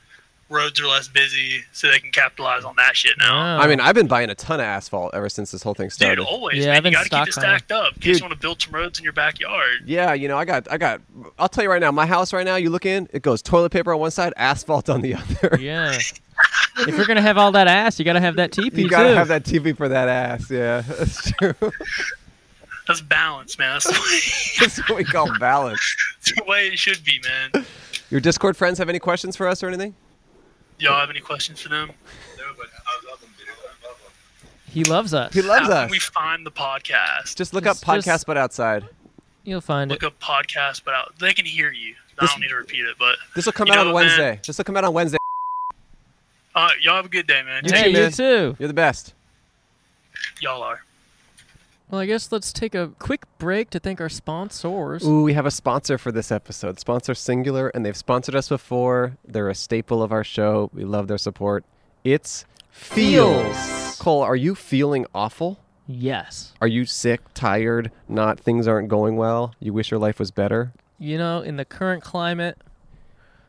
roads are less busy, so they can capitalize on that shit now.
Oh.
I mean, I've been buying a ton of asphalt ever since this whole thing
Dude,
started.
always,
Yeah, I've
man. You gotta
been
keep it
stockpiling.
stacked up. In case
Dude.
you want to build some roads in your backyard.
Yeah, you know, I got, I got. I'll tell you right now, my house right now. You look in, it goes toilet paper on one side, asphalt on the other.
yeah. If you're gonna have all that ass, you gotta have that teepee
you gotta
too.
have that TV for that ass. Yeah, that's true.
That's balance, man. That's the way,
that's what we call balance.
that's the way it should be, man.
Your Discord friends have any questions for us or anything?
Y'all have any questions for them?
No, but I love them, dude. I love them.
He loves us.
He loves
How can
us.
we find the podcast?
Just look
Just-
up podcast,
just-
but outside.
You'll find it.
Look up podcast, but out, they can hear you. I
This-
don't need to repeat it, but
This will come
You
out
know
on
what, man?
Wednesday. This will come out on Wednesday.
uh, y'all have a good day, man.
You
hey,
too, man.
you too.
You're the best.
Y'all are.
Well, I guess let's take a quick break to thank our sponsors.
Ooh, we have a sponsor for this episode. Sponsor Singular, and they've sponsored us before. They're a staple of our show. We love their support. It's
Feels.
Cole, are you feeling awful?
Yes.
Are you sick, tired, not things aren't going well? You wish your life was better?
You know, in the current climate,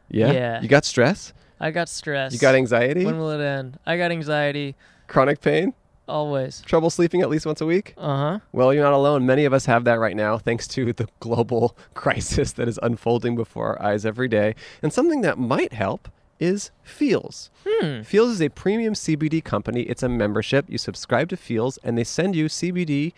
Yeah.
Yeah.
You got stress?
I got stress.
You got anxiety?
When will it end? I got anxiety
Chronic pain?
always.
Trouble sleeping at least once a week?
Uh huh.
Well, you're not alone. Many of us have that right now, thanks to the global crisis that is unfolding before our eyes every day. And something that might help is Feels. Feels is a premium CBD company. It's a membership. You subscribe to Feels, and they send you CBD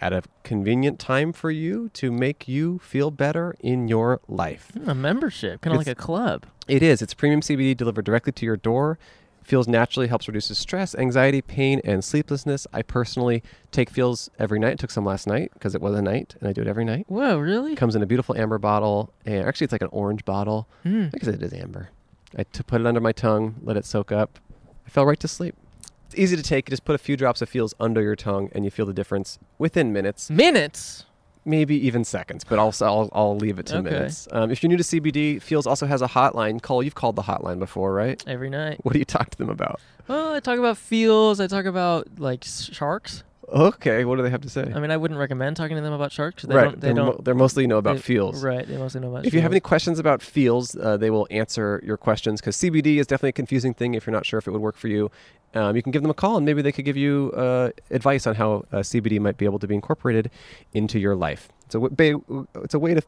at a convenient time for you to make you feel better in your life.
A membership, kind of like a club.
It is. It's premium CBD delivered directly to your door. Feels naturally helps reduces stress, anxiety, pain, and sleeplessness. I personally take Feels every night. Took some last night because it was a night, and I do it every night.
Whoa, really?
It comes in a beautiful amber bottle, and actually, it's like an orange bottle.
Hmm.
I guess it is amber. I t- put it under my tongue, let it soak up. I fell right to sleep. It's easy to take. You just put a few drops of Feels under your tongue, and you feel the difference within minutes
Minutes.
maybe even seconds, but I'll, I'll, I'll leave it to
Okay.
minutes. Um, if you're new to CBD, Feels also has a hotline. Call, you've called the hotline before, right?
Every night.
What do you talk to them about?
Well, I talk about feels. I talk about like s- sharks.
Okay, what do they have to say?
I mean, I wouldn't recommend talking to them about sharks. 'cause Um, They
right,
don't. They
they're, mo-
don't.
they're mostly know about
they-
Feels.
Right. They mostly know about.
If you have any
feels.
questions about feels, uh, they will answer your questions because CBD is definitely a confusing thing. If you're not sure if it would work for you, um, you can give them a call and maybe they could give you uh, advice on how uh, CBD might be able to be incorporated into your life. It's a, w- ba- it's a way to.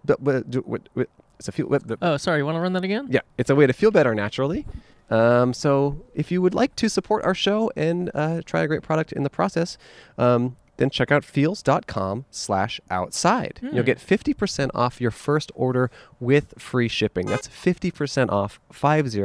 It's a feel. what the-
Oh, sorry. You want to run that again?
yeah, it's a way to feel better naturally. Um, so if you would like to support our show and uh, try a great product in the process, um, then check out feels.com slash outside. You'll get 50% off your first order with free shipping. That's 50% off, 50,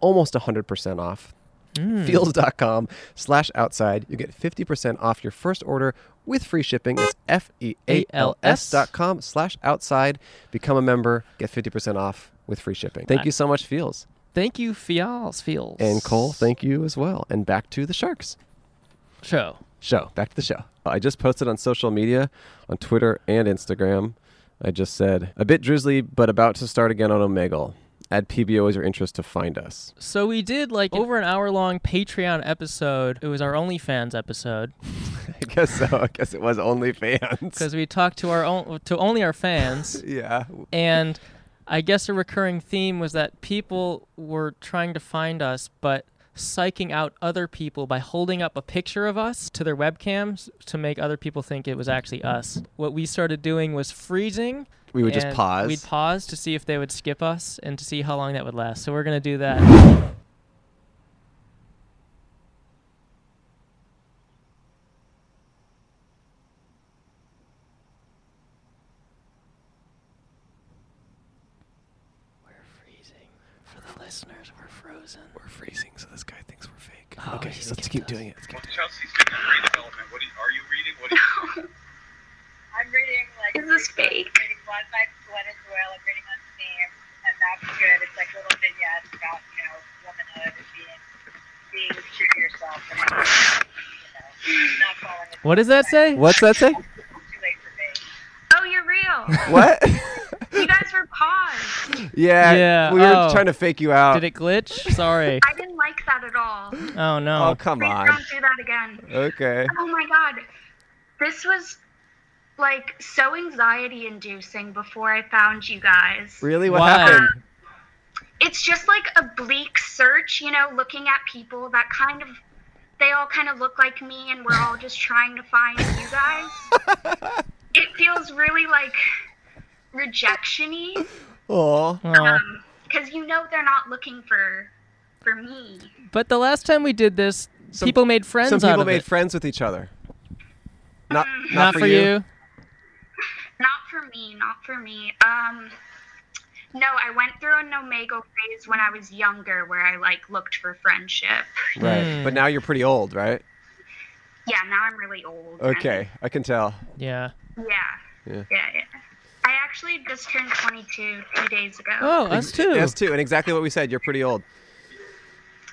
almost 100% off. Feels.com slash outside. You get 50% off your first order with free shipping. It's F E A L S dot com slash outside. Become a member, get 50% off with free shipping. Thank you so much, Feels.
Thank you, feels. Feels.
And Cole, thank you as well. And back to the Sharks
Show.
show. Back to the show. I just posted on social media, on Twitter and Instagram. I just said, a bit drizzly, but about to start again on Omegle. Add PBO as your interest to find us.
So we did like over an hour long Patreon episode. It was our OnlyFans episode.
I guess so. I guess it was OnlyFans.
because we talked to our own to only our fans,
Yeah.
and I guess a recurring theme was that people were trying to find us, but psyching out other people by holding up a picture of us to their webcams to make other people think it was actually us. What we started doing was freezing.
We would just
and
pause.
We'd pause to see if they would skip us and to see how long that would last. So we're gonna do that. Listeners, we're frozen.
We're freezing, so this guy thinks we're fake.
Oh,
okay,
he's
let's keep
skipped us.
doing it. Let's keep-
Well, Chelsea's doing a reading element. What are you, are you reading? What are you
I'm reading like
Is this
three books. I'm reading one by Venezuela, I'm reading on Steam, and that's good. It's like little vignettes about you know womanhood and being being true to yourself and you know, not falling. into
What does that say?
What's that say?
Too late for me.
Oh, you're real.
What?
you guys were paused.
yeah.
Yeah,
We were
oh.
trying to fake you out.
Did it glitch? Sorry.
I didn't like that at all.
Oh
oh,
no.
come
Please
on.
don't do that again.
Okay.
Oh my god. This was like so anxiety inducing before I found you guys.
Really? What
Why?
happened?
It's just like a bleak search, you know, looking at people that kind of they all kind of look like me and we're all just trying to find you guys. it feels really like rejectiony
Oh.
Oh.
cuz you know they're not looking for for me.
But the last time we did this,
Some-
people made friends
Some
out
people
of
made
it.
friends with each other. Not,
Mm.
not,
Not for you.
Not for me, not for me. Um no, I went through an omegle phase when I was younger where I like looked for friendship.
Right.
Mm.
But now you're pretty old, right?
Yeah, now I'm really old. and-
Okay, I can tell.
Yeah.
yeah,
Yeah.
yeah. Yeah, I actually just turned 22 two days ago.
Oh, us too.
Yes, too. And exactly what we said. You're pretty old.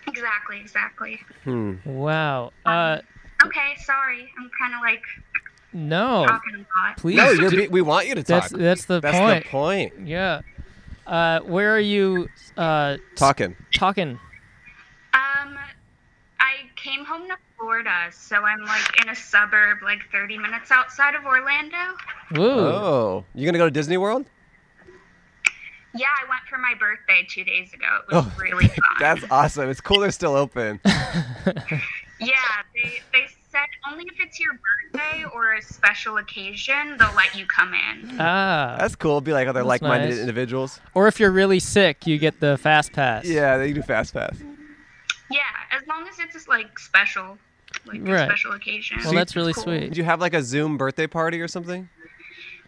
Exactly, exactly.
Hmm.
Wow. Uh,
Okay, sorry. I'm kind of like
no.
talking a lot.
Please.
No, you're.
do-
Be- we want you to talk.
that's that's the
That's
point.
the point.
yeah. Uh, where are you? Uh, s-
Talking.
talking.
Um, I came home to Florida, so I'm like in a suburb, like 30 minutes outside of Orlando.
Woo.
Oh, you gonna go to Disney World?
Yeah, I went for my birthday two days ago. It was
Oh,
really fun.
That's awesome. It's cool. They're still open.
Yeah, they they said only if it's your birthday or a special occasion they'll let you come in.
Ah.
That's cool. Be like other
That's
like-minded
nice.
individuals.
or if you're really sick, you get the fast pass.
Yeah, they do fast pass.
Yeah, as long as it's like special, like
Right.
a special occasion.
Well, that's really
Cool.
sweet.
Did you have like a Zoom birthday party or something?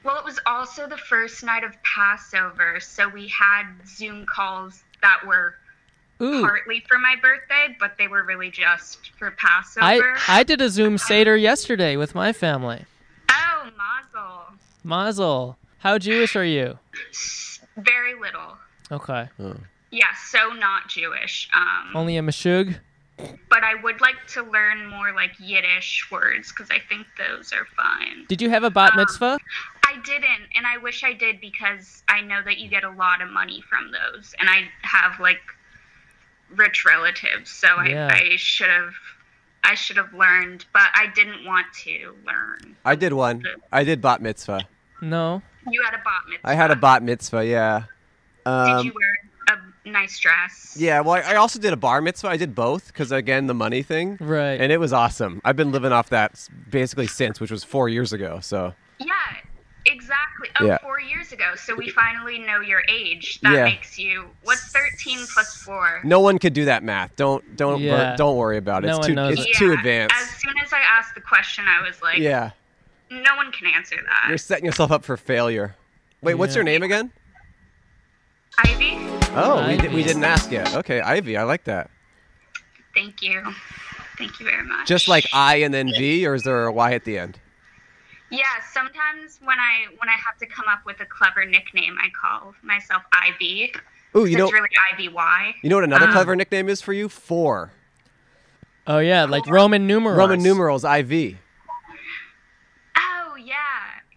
Well, it was also the first night of Passover, so we had Zoom calls that were
Ooh.
partly for my birthday, but they were really just for Passover.
I I did a Zoom seder yesterday with my family.
oh, mazel.
Mazel. How Jewish are you?
Very little.
Okay.
Oh.
Yeah, so not Jewish. Um,
Only a meshug.
but I would like to learn more like Yiddish words because I think those are fun.
Did you have a bat
Um,
mitzvah?
I didn't, and I wish I did because I know that you get a lot of money from those, and I have like rich relatives, so
Yeah.
I, I should have I should have learned, but I didn't want to learn.
I did one. I did bat mitzvah.
No.
You had a bat mitzvah.
I had a bat mitzvah. Yeah.
Did
Um,
you wear a nice dress?
yeah. Well, I I also did a bar mitzvah. I did both because again, the money thing.
Right.
And it was awesome. I've been living off that s- basically since, which was four years ago. So
Yeah, exactly. Oh,
Yeah.
four years ago, so we finally know your age. That
Yeah.
makes you what's thirteen plus four?
no one could do that math. Don't don't wor-
Yeah.
don't worry about it.
No
it's
one
too
knows
it's
it.
too
Yeah,
advanced.
As soon as I asked the question, I was like, uh,
yeah,
no one can answer that.
you're setting yourself up for failure. Wait, what's
Yeah.
your name again?
Ivy,
Oh, we, di- we
Ivy.
didn't ask yet. Okay, Ivy, I like that.
thank you. Thank you very much.
Just like I and then V, or is there a Y at the end?
Yeah, sometimes when I when I have to come up with a clever nickname, I call myself Ivy.
Ooh, you know,
it's really Ivy Y.
you know what another
Ah.
clever nickname is for you? Four.
Oh yeah, like Roman numerals.
Roman numerals, IV.
Oh yeah,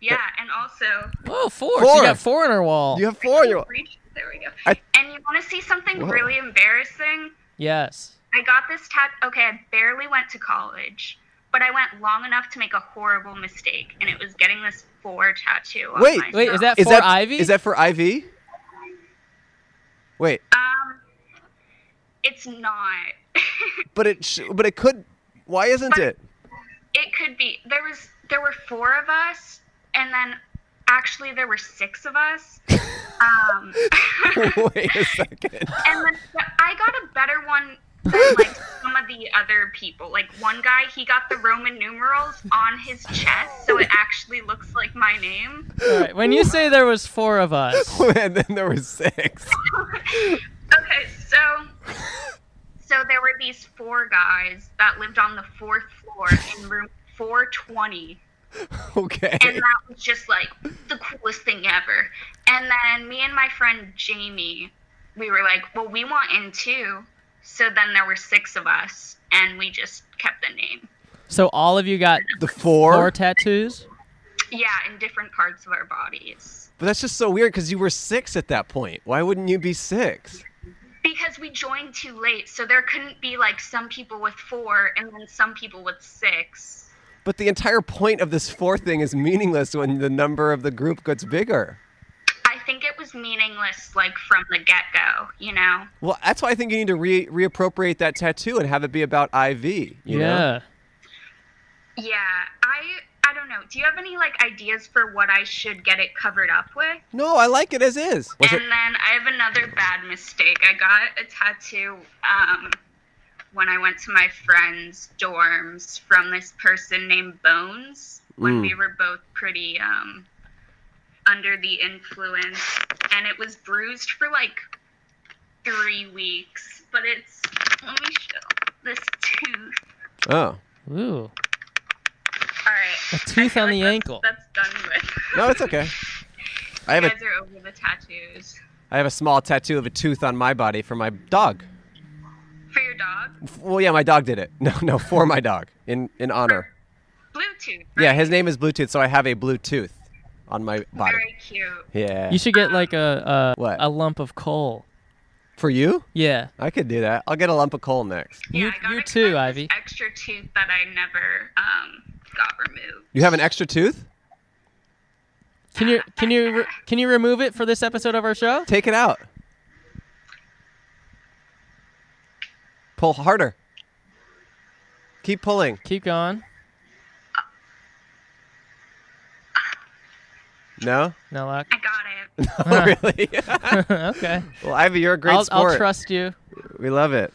yeah, and also
Oh, four. So
Four.
you got four on our wall.
Oh, You have four on your.
Reach- There we go.
I-
And you want to see something
Whoa.
really embarrassing?
Yes.
I got this tat. Okay, I barely went to college, but I went long enough to make a horrible mistake, and it was getting this four tattoo. On
Wait,
my
Wait, is
thumb.
that
is
for
that
Ivy?
Is that for Ivy? Wait,
Um, it's not.
but it sh- but it could. Why isn't it?
It could be. There was there were four of us, and then actually there were six of us. Um,
Wait a second.
and then the- I got a better one than like some of the other people. Like one guy, he got the Roman numerals on his chest, so it actually looks like my name.
All right, when you say there was four of us,
and Oh, then there were six.
Okay, so so there were these four guys that lived on the fourth floor in room 420.
Okay.
and that was just like the coolest thing ever. And then me and my friend Jamie, we were like, well, we want in too. So then there were six of us, and we just kept the name.
so all of you got
The four.
four tattoos?
Yeah, in different parts of our bodies.
But that's just so weird because you were six at that point. Why wouldn't you be six?
Because we joined too late, so there couldn't be like some people with four and then some people with six.
But the entire point of this four thing is meaningless when the number of the group gets bigger.
I think it was meaningless, like from the get go, you know?
Well, that's why I think you need to re- reappropriate that tattoo and have it be about IV. You know?
yeah.
Yeah, I. I don't know. Do you have any like ideas for what I should get it covered up with?
No, I like it as is. Was
and
it?
then I have another bad mistake. I got a tattoo um, when I went to my friend's dorms from this person named Bones when
Mm.
we were both pretty um, under the influence. And it was bruised for like three weeks. But it's, let me show this tooth.
Oh,
Ooh,
All right.
a tooth
I feel
on
like
the
that's-
ankle.
That's done with.
no, it's okay. I have
You
a
guys are over the tattoos.
I have a small tattoo of a tooth on my body for my dog.
For your dog?
F- Well, yeah, my dog did it. No, no, for my dog in in honor.
Bluetooth.
Yeah,
right?
his name is Bluetooth, so I have a blue tooth on my body.
Very cute.
Yeah.
You should get like a a,
What?
a lump of coal.
for you?
Yeah.
I could do that. I'll get a lump of coal next.
You-
yeah, I got
you
a
too,
kind of
Ivy.
Extra tooth that I never um, got removed.
You have an extra tooth?
Can you can you re- can you remove it for this episode of our show?
Take it out. Pull harder. Keep pulling.
Keep going.
No?
No luck.
I got it.
Oh, really?
okay.
well, Ivy, you're a great
I'll,
sport.
I'll trust you.
we love it.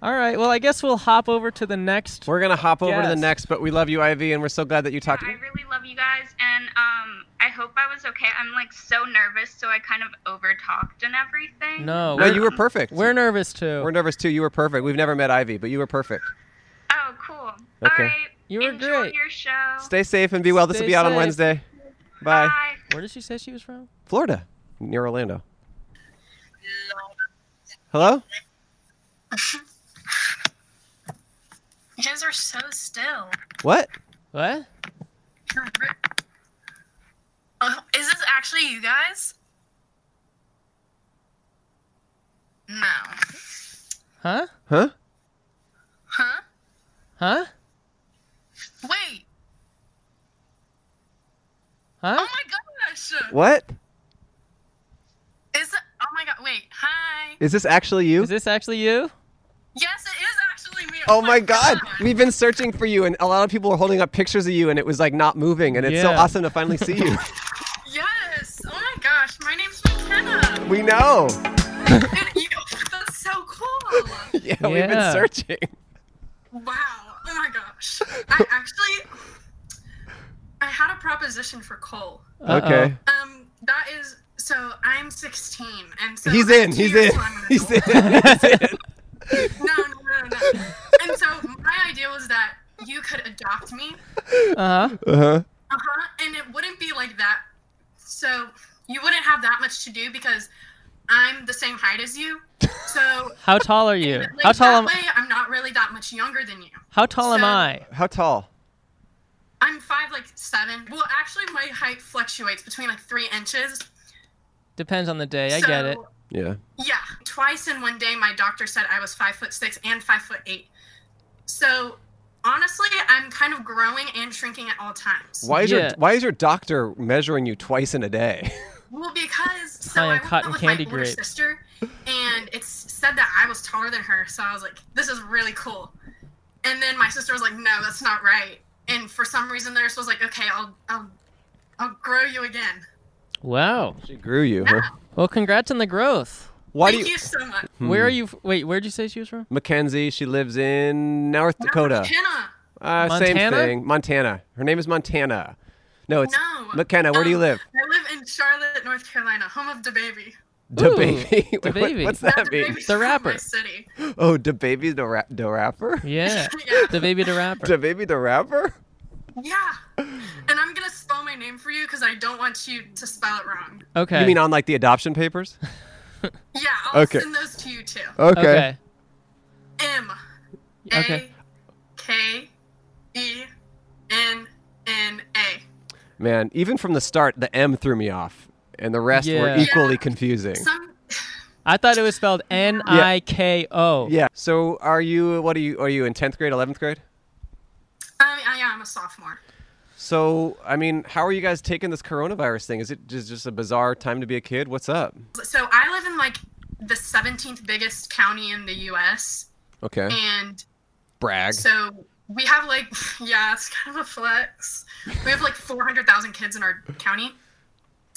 All right. Well, I guess we'll hop over to the next.
We're going to hop over to the
Yes.
next, but we love you, Ivy, and we're so glad that you talked
I
to me.
really love you guys, and um, I hope I was okay. I'm like so nervous, so I kind of overtalked and everything.
No,
No,
we're,
you were perfect.
we're nervous too.
We're nervous too. You were perfect. We've never met Ivy, but you were perfect.
Oh, cool.
Okay.
All right.
You were
Enjoy
great.
your show.
Stay safe and be well. This will
Stay
be out on
safe.
Wednesday. Bye.
Bye.
Where did she say she was from?
Florida, near Orlando. Hello?
You guys are so still.
What?
What?
Uh,
Oh, is this actually you guys? No.
Huh?
Huh?
Huh?
Huh?
Wait.
Huh?
Oh my gosh.
What?
Is it? Oh my god. Wait. Hi.
Is this actually you?
Is this actually you?
Yes, it is actually me.
Oh my god. We've been searching for you and a lot of people were holding up pictures of you and it was like not moving and it's so
Yeah.
awesome to finally see you.
Yes. Oh my gosh. My name's McKenna.
we know.
Dude, you, that's so cool.
Yeah, we've been
Yeah.
searching.
Wow. Oh my gosh. I actually I had a proposition for Cole.
Uh-oh.
Okay.
Um that is so I'm 16 and so
He's
I'm
in.
two
He's in.
years younger than
He's
Cole.
in. He's in.
No, no, no, no. and so my idea was that you could adopt me.
Uh huh.
Uh-huh.
Uh-huh. And it wouldn't be like that. So you wouldn't have that much to do because I'm the same height as you. So
How tall are you?
like,
How tall
that
am
way I'm not really that much younger than you.
How tall am
so-
I?
How tall?
I'm five like seven. Well, actually, my height fluctuates between like three inches.
Depends on the day. I get it.
So,
Yeah.
Yeah, twice in one day, my doctor said I was five foot six and five foot eight. So honestly, I'm kind of growing and shrinking at all times.
Why is your Why is your doctor measuring you twice in a day?
Well, because so
High on
I went
cotton
out with
candy
my older
grapes.
sister, and it's said that I was taller than her, so I was like, "This is really cool." And then my sister was like, "No, that's not right." And for some reason, the nurse was like, "Okay, I'll, I'll, I'll grow you again."
Wow.
She grew you. Huh?
Well, congrats on the growth.
Why Hmm.
Thank you, so much.
Where are you? f- Wait, where'd you say she was from?
Mackenzie. She lives in North Dakota.
Montana.
Uh, same
Montana?
thing. Montana. Her name is Montana. No, it's
No.
McKenna. Where do you
Um,
live?
I live in Charlotte, North Carolina, home of the baby.
Da baby.
Da Baby.
What's that mean?
DaBaby's from my city.
Oh, da baby, the ra- the rapper.
Yeah, the baby, the rapper.
Da baby, the rapper.
Yeah. And I'm gonna spell my name for you because I don't want you to spell it wrong.
Okay.
You mean on like the adoption papers?
Yeah, I'll
Okay.
send those to you too.
Okay. Okay.
M
Okay.
A K E N N A.
Man, even from the start, the M threw me off, and the rest were
Yeah.
equally confusing.
Some
I thought it was spelled N I K O.
Yeah. So are you? What are you? Are you in tenth grade, eleventh grade?
I mean, I, yeah, I'm a sophomore.
So I mean, how are you guys taking this coronavirus thing? Is it just just a bizarre time to be a kid? What's up?
So I live in like the 17th biggest county in the U.S.
Okay.
And
Brag.
so we have like, yeah, it's kind of a flex. We have like 400,000 kids in our county.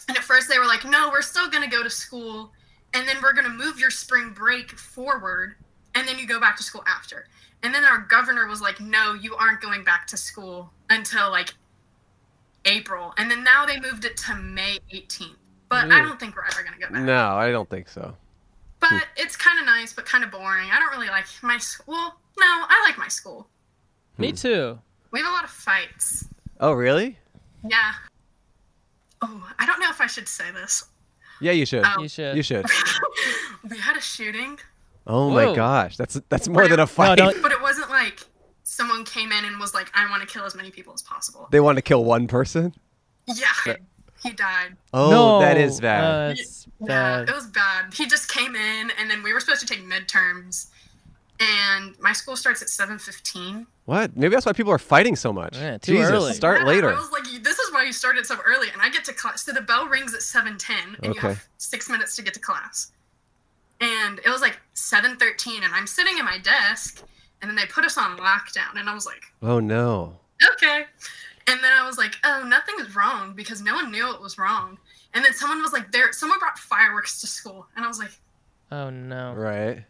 And at first they were like, no, we're still going to go to school. And then we're going to move your spring break forward. And then you go back to school after. And then our governor was like, no, you aren't going back to school until like April. And then now they moved it to May 18th. But I
Ooh.
don't think we're ever going to go back.
No, I don't think so.
But it's kind of nice, but kind of boring. I don't really like my school. No, I like my school.
Me too.
We have a lot of fights.
Hmm. Oh, really?
Yeah. Oh, I don't know if I should say this.
Yeah, you should.
Oh. You should.
You should.
we had a shooting,
Oh
Whoa.
my gosh, that's that's more than a fight.
but it wasn't like someone came in and was like, "I want to kill as many people as possible."
They want to kill one person.
Yeah. He died.
Oh, that is
No,
bad.
that's
Yeah,
bad.
it was bad. He just came in, and then we were supposed to take midterms, and my school starts at seven fifteen.
What? Maybe that's why people are fighting so much.
Yeah, too
Jesus,
early.
start
Yeah, I
later.
was like, this is why you started so early, and I get to class. So the bell rings at seven ten, and you
Okay.
have six minutes to get to class. And it was like seven thirteen, and I'm sitting at my desk, and then they put us on lockdown, and I was like,
Oh no.
okay. And then I was like, oh, nothing's wrong because no one knew it was wrong. And then someone was like, there, someone brought fireworks to school, and I was like,
Oh no.
Right.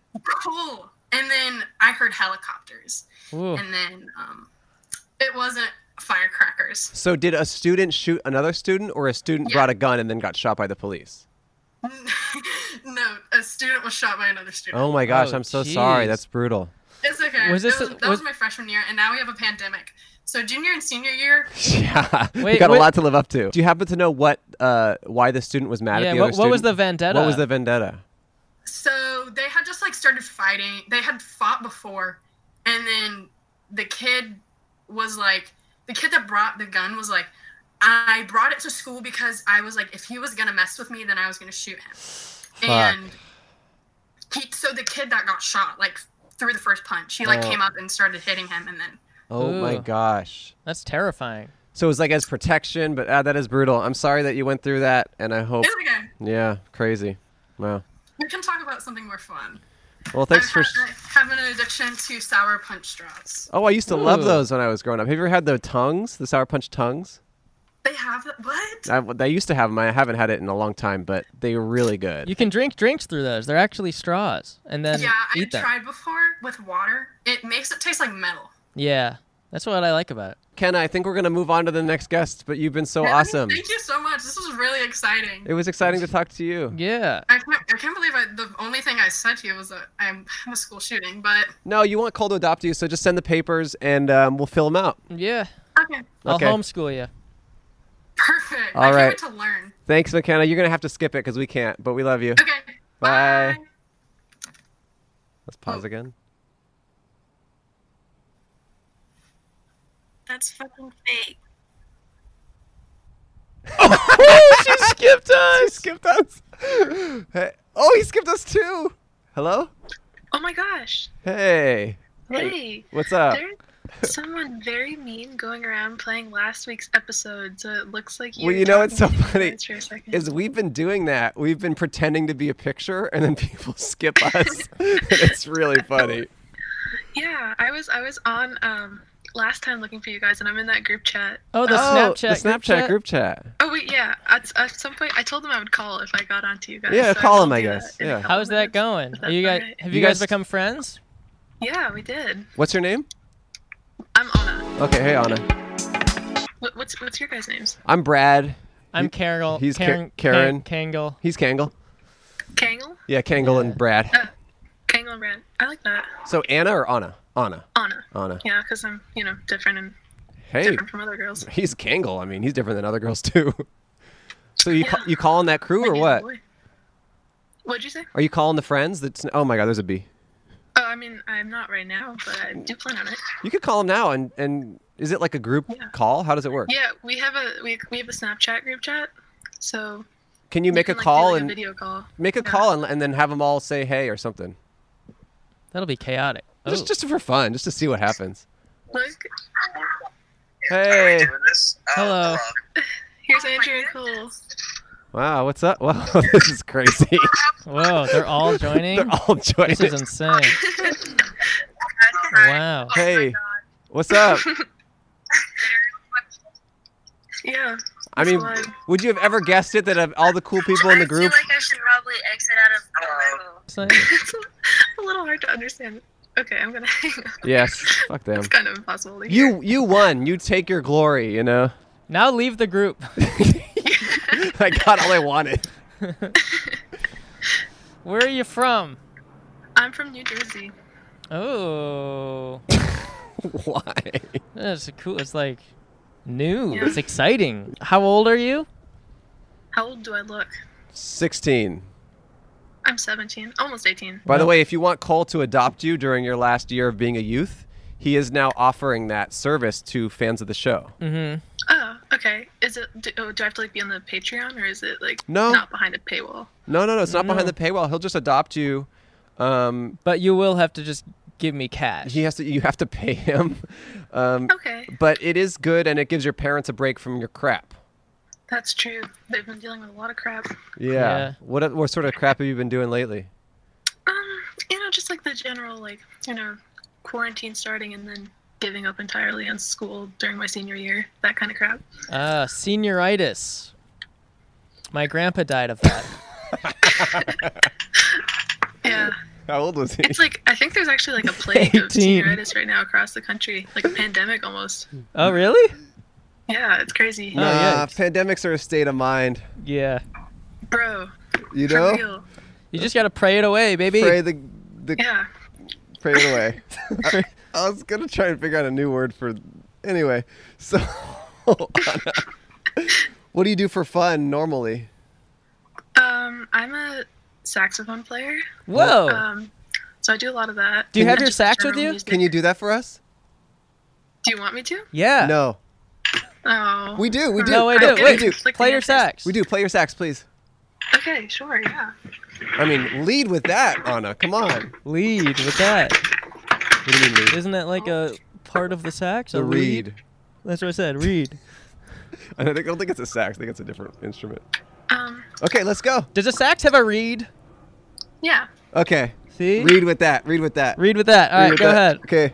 cool. And then I heard helicopters,
Ooh.
and then um, it wasn't firecrackers.
So did a student shoot another student, or a student brought a gun and then got shot by the police?
No, a student was shot by another student.
Oh my gosh,
Oh,
I'm so sorry.
jeez.
That's brutal.
It's okay.
Was
Was
this
that, was,
a-
that was
was-
my freshman year, and now we have a pandemic. So junior and senior year,
Yeah, we
Wait,
got
wait.
a lot to live up to. Do you happen to know what uh, why the student was mad
Yeah,
at the
what-
other
what
student?
was the vendetta?
What was the vendetta?
so they had just like started fighting. They had fought before, and then the kid was like, the kid that brought the gun was like, I brought it to school because I was like, if he was gonna mess with me, then I was gonna shoot him. And he, so the kid that got shot, like through the first punch, he like
Oh.
came up and started hitting him, and then
Oh my
Ooh.
gosh.
That's terrifying.
So it was like as protection, but ah, that is brutal. I'm sorry that you went through that, and I hope.
it's okay.
Yeah, crazy. Wow.
We can talk about something more fun.
Well, thanks for.
I'm ha- having an addiction to sour punch straws.
Oh, I used to love
Ooh.
those when I was growing up. Have you ever had the tongues, the sour punch tongues?
They have it- what?
I, I used to have them. I haven't had it in a long time, but they were really good.
You can drink drinks through those. They're actually straws, and then
yeah, I
eat them.
tried before with water. It makes it taste like metal.
Yeah, that's what I like about it.
Kenna, I think we're gonna move on to the next guest, but you've been so
Kevin,
awesome.
Thank you so much. This was really exciting.
It was exciting to talk to you.
Yeah.
I can't, I can't believe I, the only thing I said to you was that I'm, I'm a school shooting, but
No, you want Cole to adopt you, so just send the papers and um, we'll fill them out.
Yeah.
okay,
I'll
Okay.
homeschool you.
perfect.
All
I
right.
can't wait to learn.
Thanks, McKenna. You're gonna have to skip it because we can't, but we love you.
Okay,
Bye.
bye. Oh.
Let's pause again.
That's fucking fake.
she skipped us. She skipped us. Hey. Oh, he skipped us too. Hello.
Oh my gosh.
Hey.
Hey.
What's up?
There,
Someone very mean going around playing last week's episode, so it looks like you.
well,
were
you know
talking
what's so
to me
funny
for a second.
is we've been doing that. We've been pretending to be a picture, and then people skip us. And it's really
Oh,
funny.
Yeah, I was I was on um last time looking for you guys, and I'm in that group chat.
Oh, The Snapchat group chat.
Oh wait, yeah. At, at some point, I told them I would call if I got onto you guys.
Yeah,
so
call
will
him, I
do that
guess.
in a
Yeah.
couple
How's that going? Are you guys have you,
You
guys,
guys-
become friends?
Yeah, we did.
What's your name?
I'm Anna.
Okay, hey Anna.
What, what's what's your guys' names?
I'm Brad.
I'm Carol.
He's Ka-
Karen-
Karen.
Kan- Kangle.
He's Kangle.
Kangle.
Yeah, Kangle and Brad.
Uh, Kangle and Brad. I like that.
So Anna or Anna? Anna.
Anna.
Anna.
Yeah, because I'm you know different and
Hey.
different from other girls.
He's Kangle. I mean, he's different than other girls too. So you ca- you calling that crew or what?
Boy. What'd you say?
Are you calling the friends? That's oh my god, there's a bee.
Oh, I mean, I'm not right now, but I do plan on it.
You could call them now and and is it like a group call? How does it work?
Yeah, we have a we, we have a Snapchat group chat, so
Can you make a
can, like, do,
call
like, a
and
video call.
make a
Yeah.
call and, and then have them all say hey or something?
That'll be chaotic.
Just
Oh.
just for fun, just to see what happens.
look,
Hey.
Hello.
here's Andrew and Cole.
Wow, what's up? Wow, this is crazy.
Whoa, they're all joining.
They're all joining.
This is insane. wow.
Oh
Hey, what's up?
Yeah.
I mean, would you have ever guessed it that of all the cool people in the group?
I should probably exit out of
It's
Uh,
like-
it's a little hard to understand. Okay, I'm gonna hang up.
Yes. Fuck them.
It's kind of impossible to hear.
You you won. You take your glory. You know.
Now leave the group.
I got all I wanted.
Where are you from?
I'm from New Jersey.
Oh.
Why?
That's cool. It's like new.
Yeah.
It's exciting. How old are you?
How old do I look?
Sixteen.
I'm 17, almost 18.
By the way, if you want Cole to adopt you during your last year of being a youth, he is now offering that service to fans of the show.
Mm-hmm.
Oh, okay. Is it? Do, oh, do I have to like be on the Patreon or is it like
No.
not behind a paywall?
No, no, no. It's not behind
No.
the paywall. He'll just adopt you. Um,
Mm. but you will have to just give me cash.
He has to. You have to pay him. Um,
okay.
But it is good, and it gives your parents a break from your crap.
That's true. They've been dealing with a lot of crap.
Yeah. What what sort of crap have you been doing lately?
Um, you know, just like the general like you know quarantine starting and then giving up entirely on school during my senior year, that kind of crap.
Ah, senioritis. My grandpa died of that.
Yeah.
How old was he?
It's like I think there's actually like a plague of
18.
senioritis right now across the country, like a pandemic almost.
oh, really? Oh,
Yeah, it's crazy.
nah,
Uh,
pandemics are a state of mind.
Yeah.
Bro,
You
for
know,
real.
You just gotta pray it away, baby.
pray the the
Yeah.
pray it away. I, I was gonna try and figure out a new word for anyway. So, Anna, what do you do for fun normally?
Um, I'm a saxophone player.
Whoa.
Um, so I do a lot of that.
Do you have
And
your
just
sax with
general
you?
music.
Can you do that for us?
Do you want me to?
yeah.
No,
Oh.
we do. We do.
No, wait,
no,
wait, wait.
We do.
Play your sax.
We do. Play your sax, please.
Okay, sure, yeah.
I mean, lead with that, Anna. Come on.
Lead with that.
What do you mean lead?
Isn't that like a part of the sax?
The
a
reed.
That's what I said. Reed.
I don't, think, I don't think it's a sax. I think it's a different instrument.
Um,
Okay, let's go.
Does a sax have a reed?
yeah.
Okay.
See?
Read with that. Read with that.
Read with that. All
Read
right,
with
go
that. Okay.
ahead.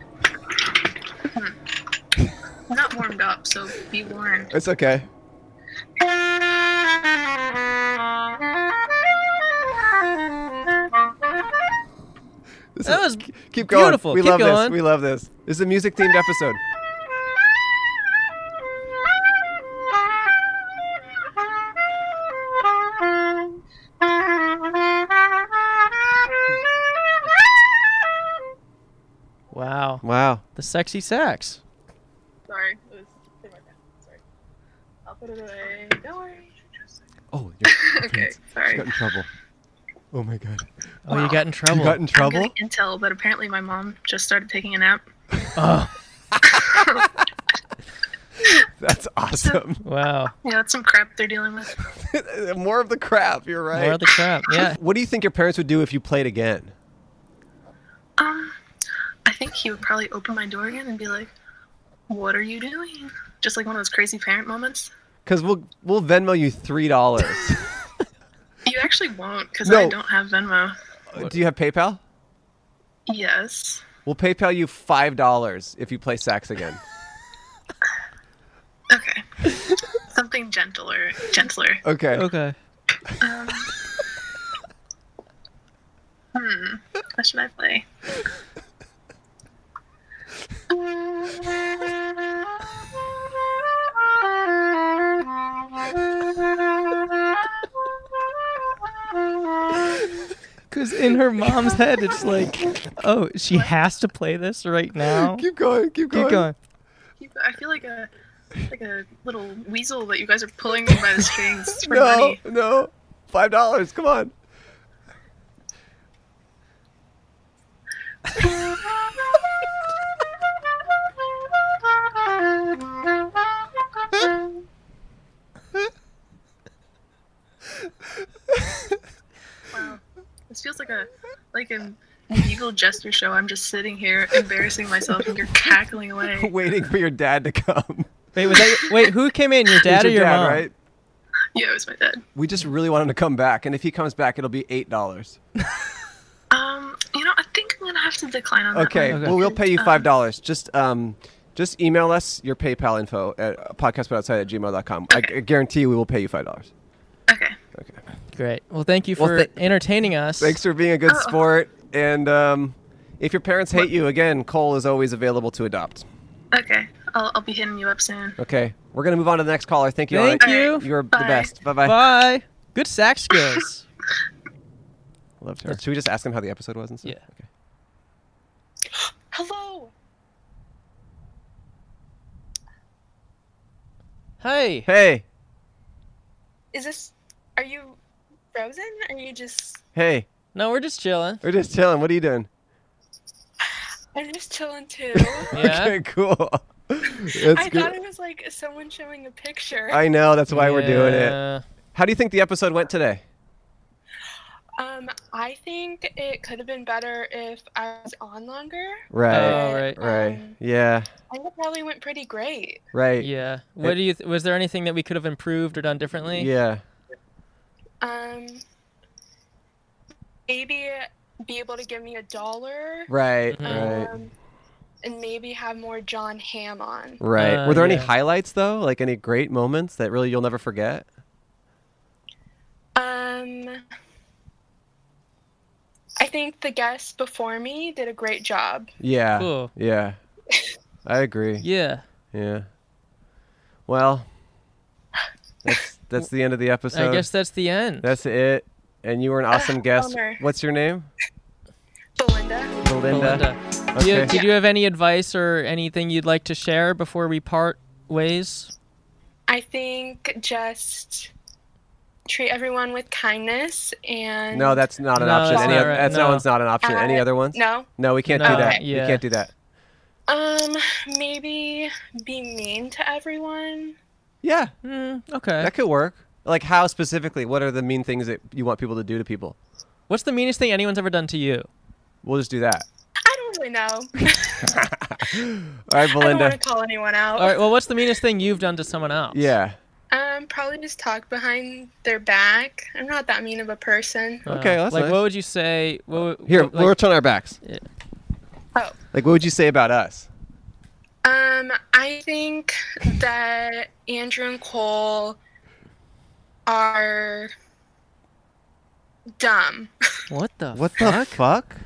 I'm not warmed up, so be warned.
It's okay. This
That
is-
was
keep going.
beautiful.
We
Keep
love
going.
this. We love this. This is a music themed episode.
Wow.
Wow.
The sexy sax.
Sorry. It was too much. Sorry. I'll put it away. Don't worry.
Oh, you're
Okay, sorry.
got in trouble. Oh my god.
Oh, you got in trouble.
You got in
I'm
trouble?
getting intel that apparently my mom just started taking a nap.
oh,
That's awesome.
wow.
Yeah, that's some crap they're dealing with.
Uh, More of the crap. You're right.
More of the crap. Yeah.
What do you think your parents would do if you played again?
Um, I think he would probably open my door again and be like, what are you doing? Just like one of those crazy parent moments.
Because we'll we'll Venmo you three dollars.
You actually won't because I
No.
don't have Venmo.
Do you have PayPal?
Yes.
We'll PayPal you five dollars if you play sax again.
Something gentler. Gentler.
Okay.
Okay.
Um, hmm. What should I play?
Because in her mom's head, it's like, oh, she has to play this right now.
Keep going. Keep
Keep going.
You- I feel like a like a little weasel that you guys are pulling me by the strings for
no,
money.
no, five dollars. Come on.
Wow. This feels like a like a medieval jester show. I'm just sitting here embarrassing myself and you're cackling away.
Waiting for your dad to come.
Wait, was that, wait, who came in? Your
It's
dad or your
dad,
mom?
Right?
Yeah, it was my dad.
We just really want him to come back, and if he comes back, it'll be eight dollars.
Um, you know, I think I'm gonna have to decline on that.
Okay.
one.
Well, we'll pay you
Um,
five dollars. Just um, just email us your PayPal info at podcastbutoutside at gmail.com. I, I guarantee we will pay you five dollars.
Great. Well, thank you for
Well, thank-
entertaining us.
Thanks for being a good sport. And um, if your parents hate you, again, Cole is always available to adopt.
Okay, I'll, I'll be hitting you up soon.
Okay. We're gonna move on to the next caller. Thank you.
Thank
Anna.
you.
You're the
Bye.
best. Bye bye.
Bye. Good sax skills.
Loved her. Should we just ask him how the episode was and stuff? Yeah. Okay.
Hello.
Hey.
Hey.
Is this? Are you frozen? Are you just?
Hey.
No, we're just chilling.
We're just chilling. What are you doing?
I'm just chilling too.
okay. Cool. That's
I
good.
thought it was like someone showing a picture.
I know. That's why we're doing
Yeah.
it. How do you think the episode went today?
Um, I think it could have been better if I was on longer.
Right.
Oh, right.
Right.
Um,
Yeah.
I think it probably went pretty great.
Right.
Yeah. What
It-
do you? Th- was there anything that we could have improved or done differently?
Yeah.
Um, maybe be able to give me a dollar.
Right.
Um,
Mm-hmm.
Right.
and maybe have more John Ham on.
Right.
Uh,
Were there any
yeah.
highlights though? Like any great moments that really you'll never forget?
Um, I think the guest before me did a great job.
Yeah.
Cool.
Yeah. I agree.
Yeah.
Yeah. Well, that's that's the end of the episode.
guess that's the end.
That's it. And you were an awesome guest.
bummer.
What's your name? Belinda. Belinda.
Do you-
Okay.
did you have any advice or anything you'd like to share before we part ways?
I think just treat everyone with kindness and.
No, that's not an
No,
option.
that's
Any
not
oth-
right.
That's
No.
one's not an option. Any
Uh,
other ones?
no.
No, we can't do
No.
that.
Okay. Yeah.
We can't do that.
Um, maybe be mean to everyone.
Yeah.
Mm, okay.
Hmm, That could work. Like how specifically? What are the mean things that you want people to do to people?
What's the meanest thing anyone's ever done to you?
We'll just do that.
I don't really know.
All right,
I don't
Belinda.
want to call anyone out.
All right. Well, what's the meanest thing you've done to someone else?
Yeah.
Um, probably just talk behind their back. I'm not that mean of a person.
Okay, that's
Uh, like,
nice.
what would you say? What, would-
Here,
what, like,
we're on our backs.
Oh.
Like, what would you say about us?
Um, I think that Andrew and Cole are dumb.
What the?
What the fuck?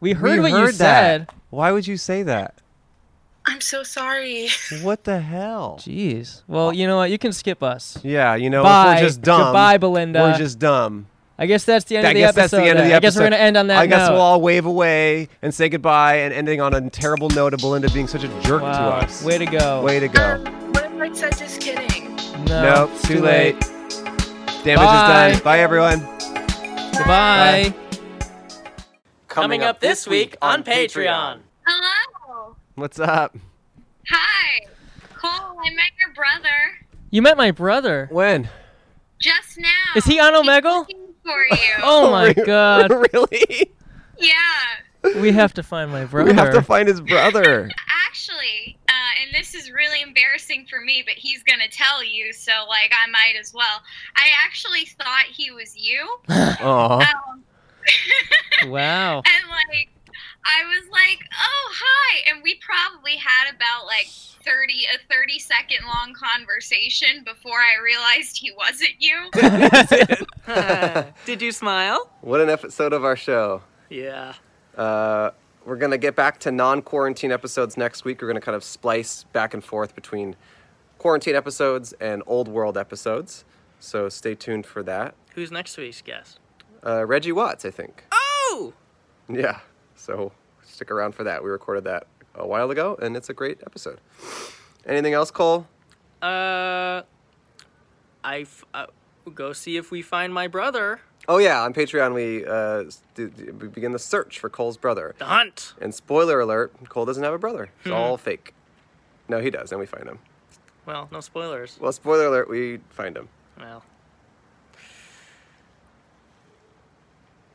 We heard what you
that. Why would you say that?
I'm so sorry.
What the hell?
Jeez. Well, you know what? You can skip us.
Yeah, you know, if
Bye.
we're just dumb.
Goodbye, Belinda.
We're just dumb.
I guess that's the end
I
of the
guess
episode.
that's the end of
then.
the episode.
I guess we're gonna end on that
I guess
note.
we'll all wave away and say goodbye and ending on a terrible note of Belinda being such a jerk
Wow.
to us.
Way to go.
Way to go.
What if I said just kidding?
nope,
it's
too, late. Damage
Bye.
is done. Bye, everyone.
Goodbye.
Coming up this week on Patreon.
Hello.
What's up?
Hi. Cole, I met your brother
You met my brother.
When?
just now
Is he on Omegle?
for you.
Oh my god.
really?
Yeah.
We have to find my brother.
We have to find his brother.
Actually, uh,
and this is really embarrassing for me, but he's gonna tell you, so like I might as well. I actually thought he was you.
Aw.
Um,
wow.
and like I was like, "Oh, hi." And we probably had about like 30 a 30 second long conversation before I realized he wasn't you.
Did you smile?
What an episode of our show.
Yeah.
Uh, we're going to get back to non quarantine episodes next week. We're going to kind of splice back and forth between quarantine episodes and old world episodes. So stay tuned for that.
Who's next week's guest?
Uh, Reggie Watts, I think.
Oh!
Yeah. So stick around for that. We recorded that a while ago, and it's a great episode. Anything else, Cole?
Uh, I f- uh, go see if we find my brother.
Oh yeah, on Patreon we uh, s- do, do- we begin the search for Cole's brother.
The hunt.
And spoiler alert: Cole doesn't have a brother. It's
Hmm.
all fake. No, he does, and we find him.
Well, no spoilers.
Well, spoiler alert: we find him.
Well,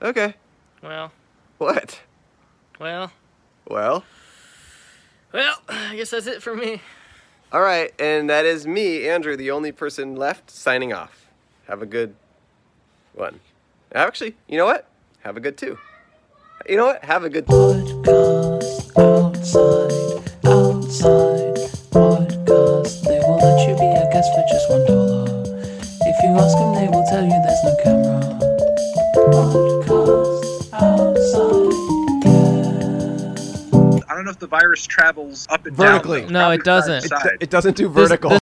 Okay.
well,
What?
well,
Well.
well. I guess that's it for me.
All right, and that is me, Andrew, the only person left, signing off. Have a good one. Actually, you know what? Have a good two. You know what? Have a good.
outside, outside podcast. They will let you be a guest for just one dollar. If you ask them, they will tell you there's no camera. Podcast outside.
I don't know if the virus travels up and down.
No, it doesn't.
side.
It doesn't do
This-
vertical.
this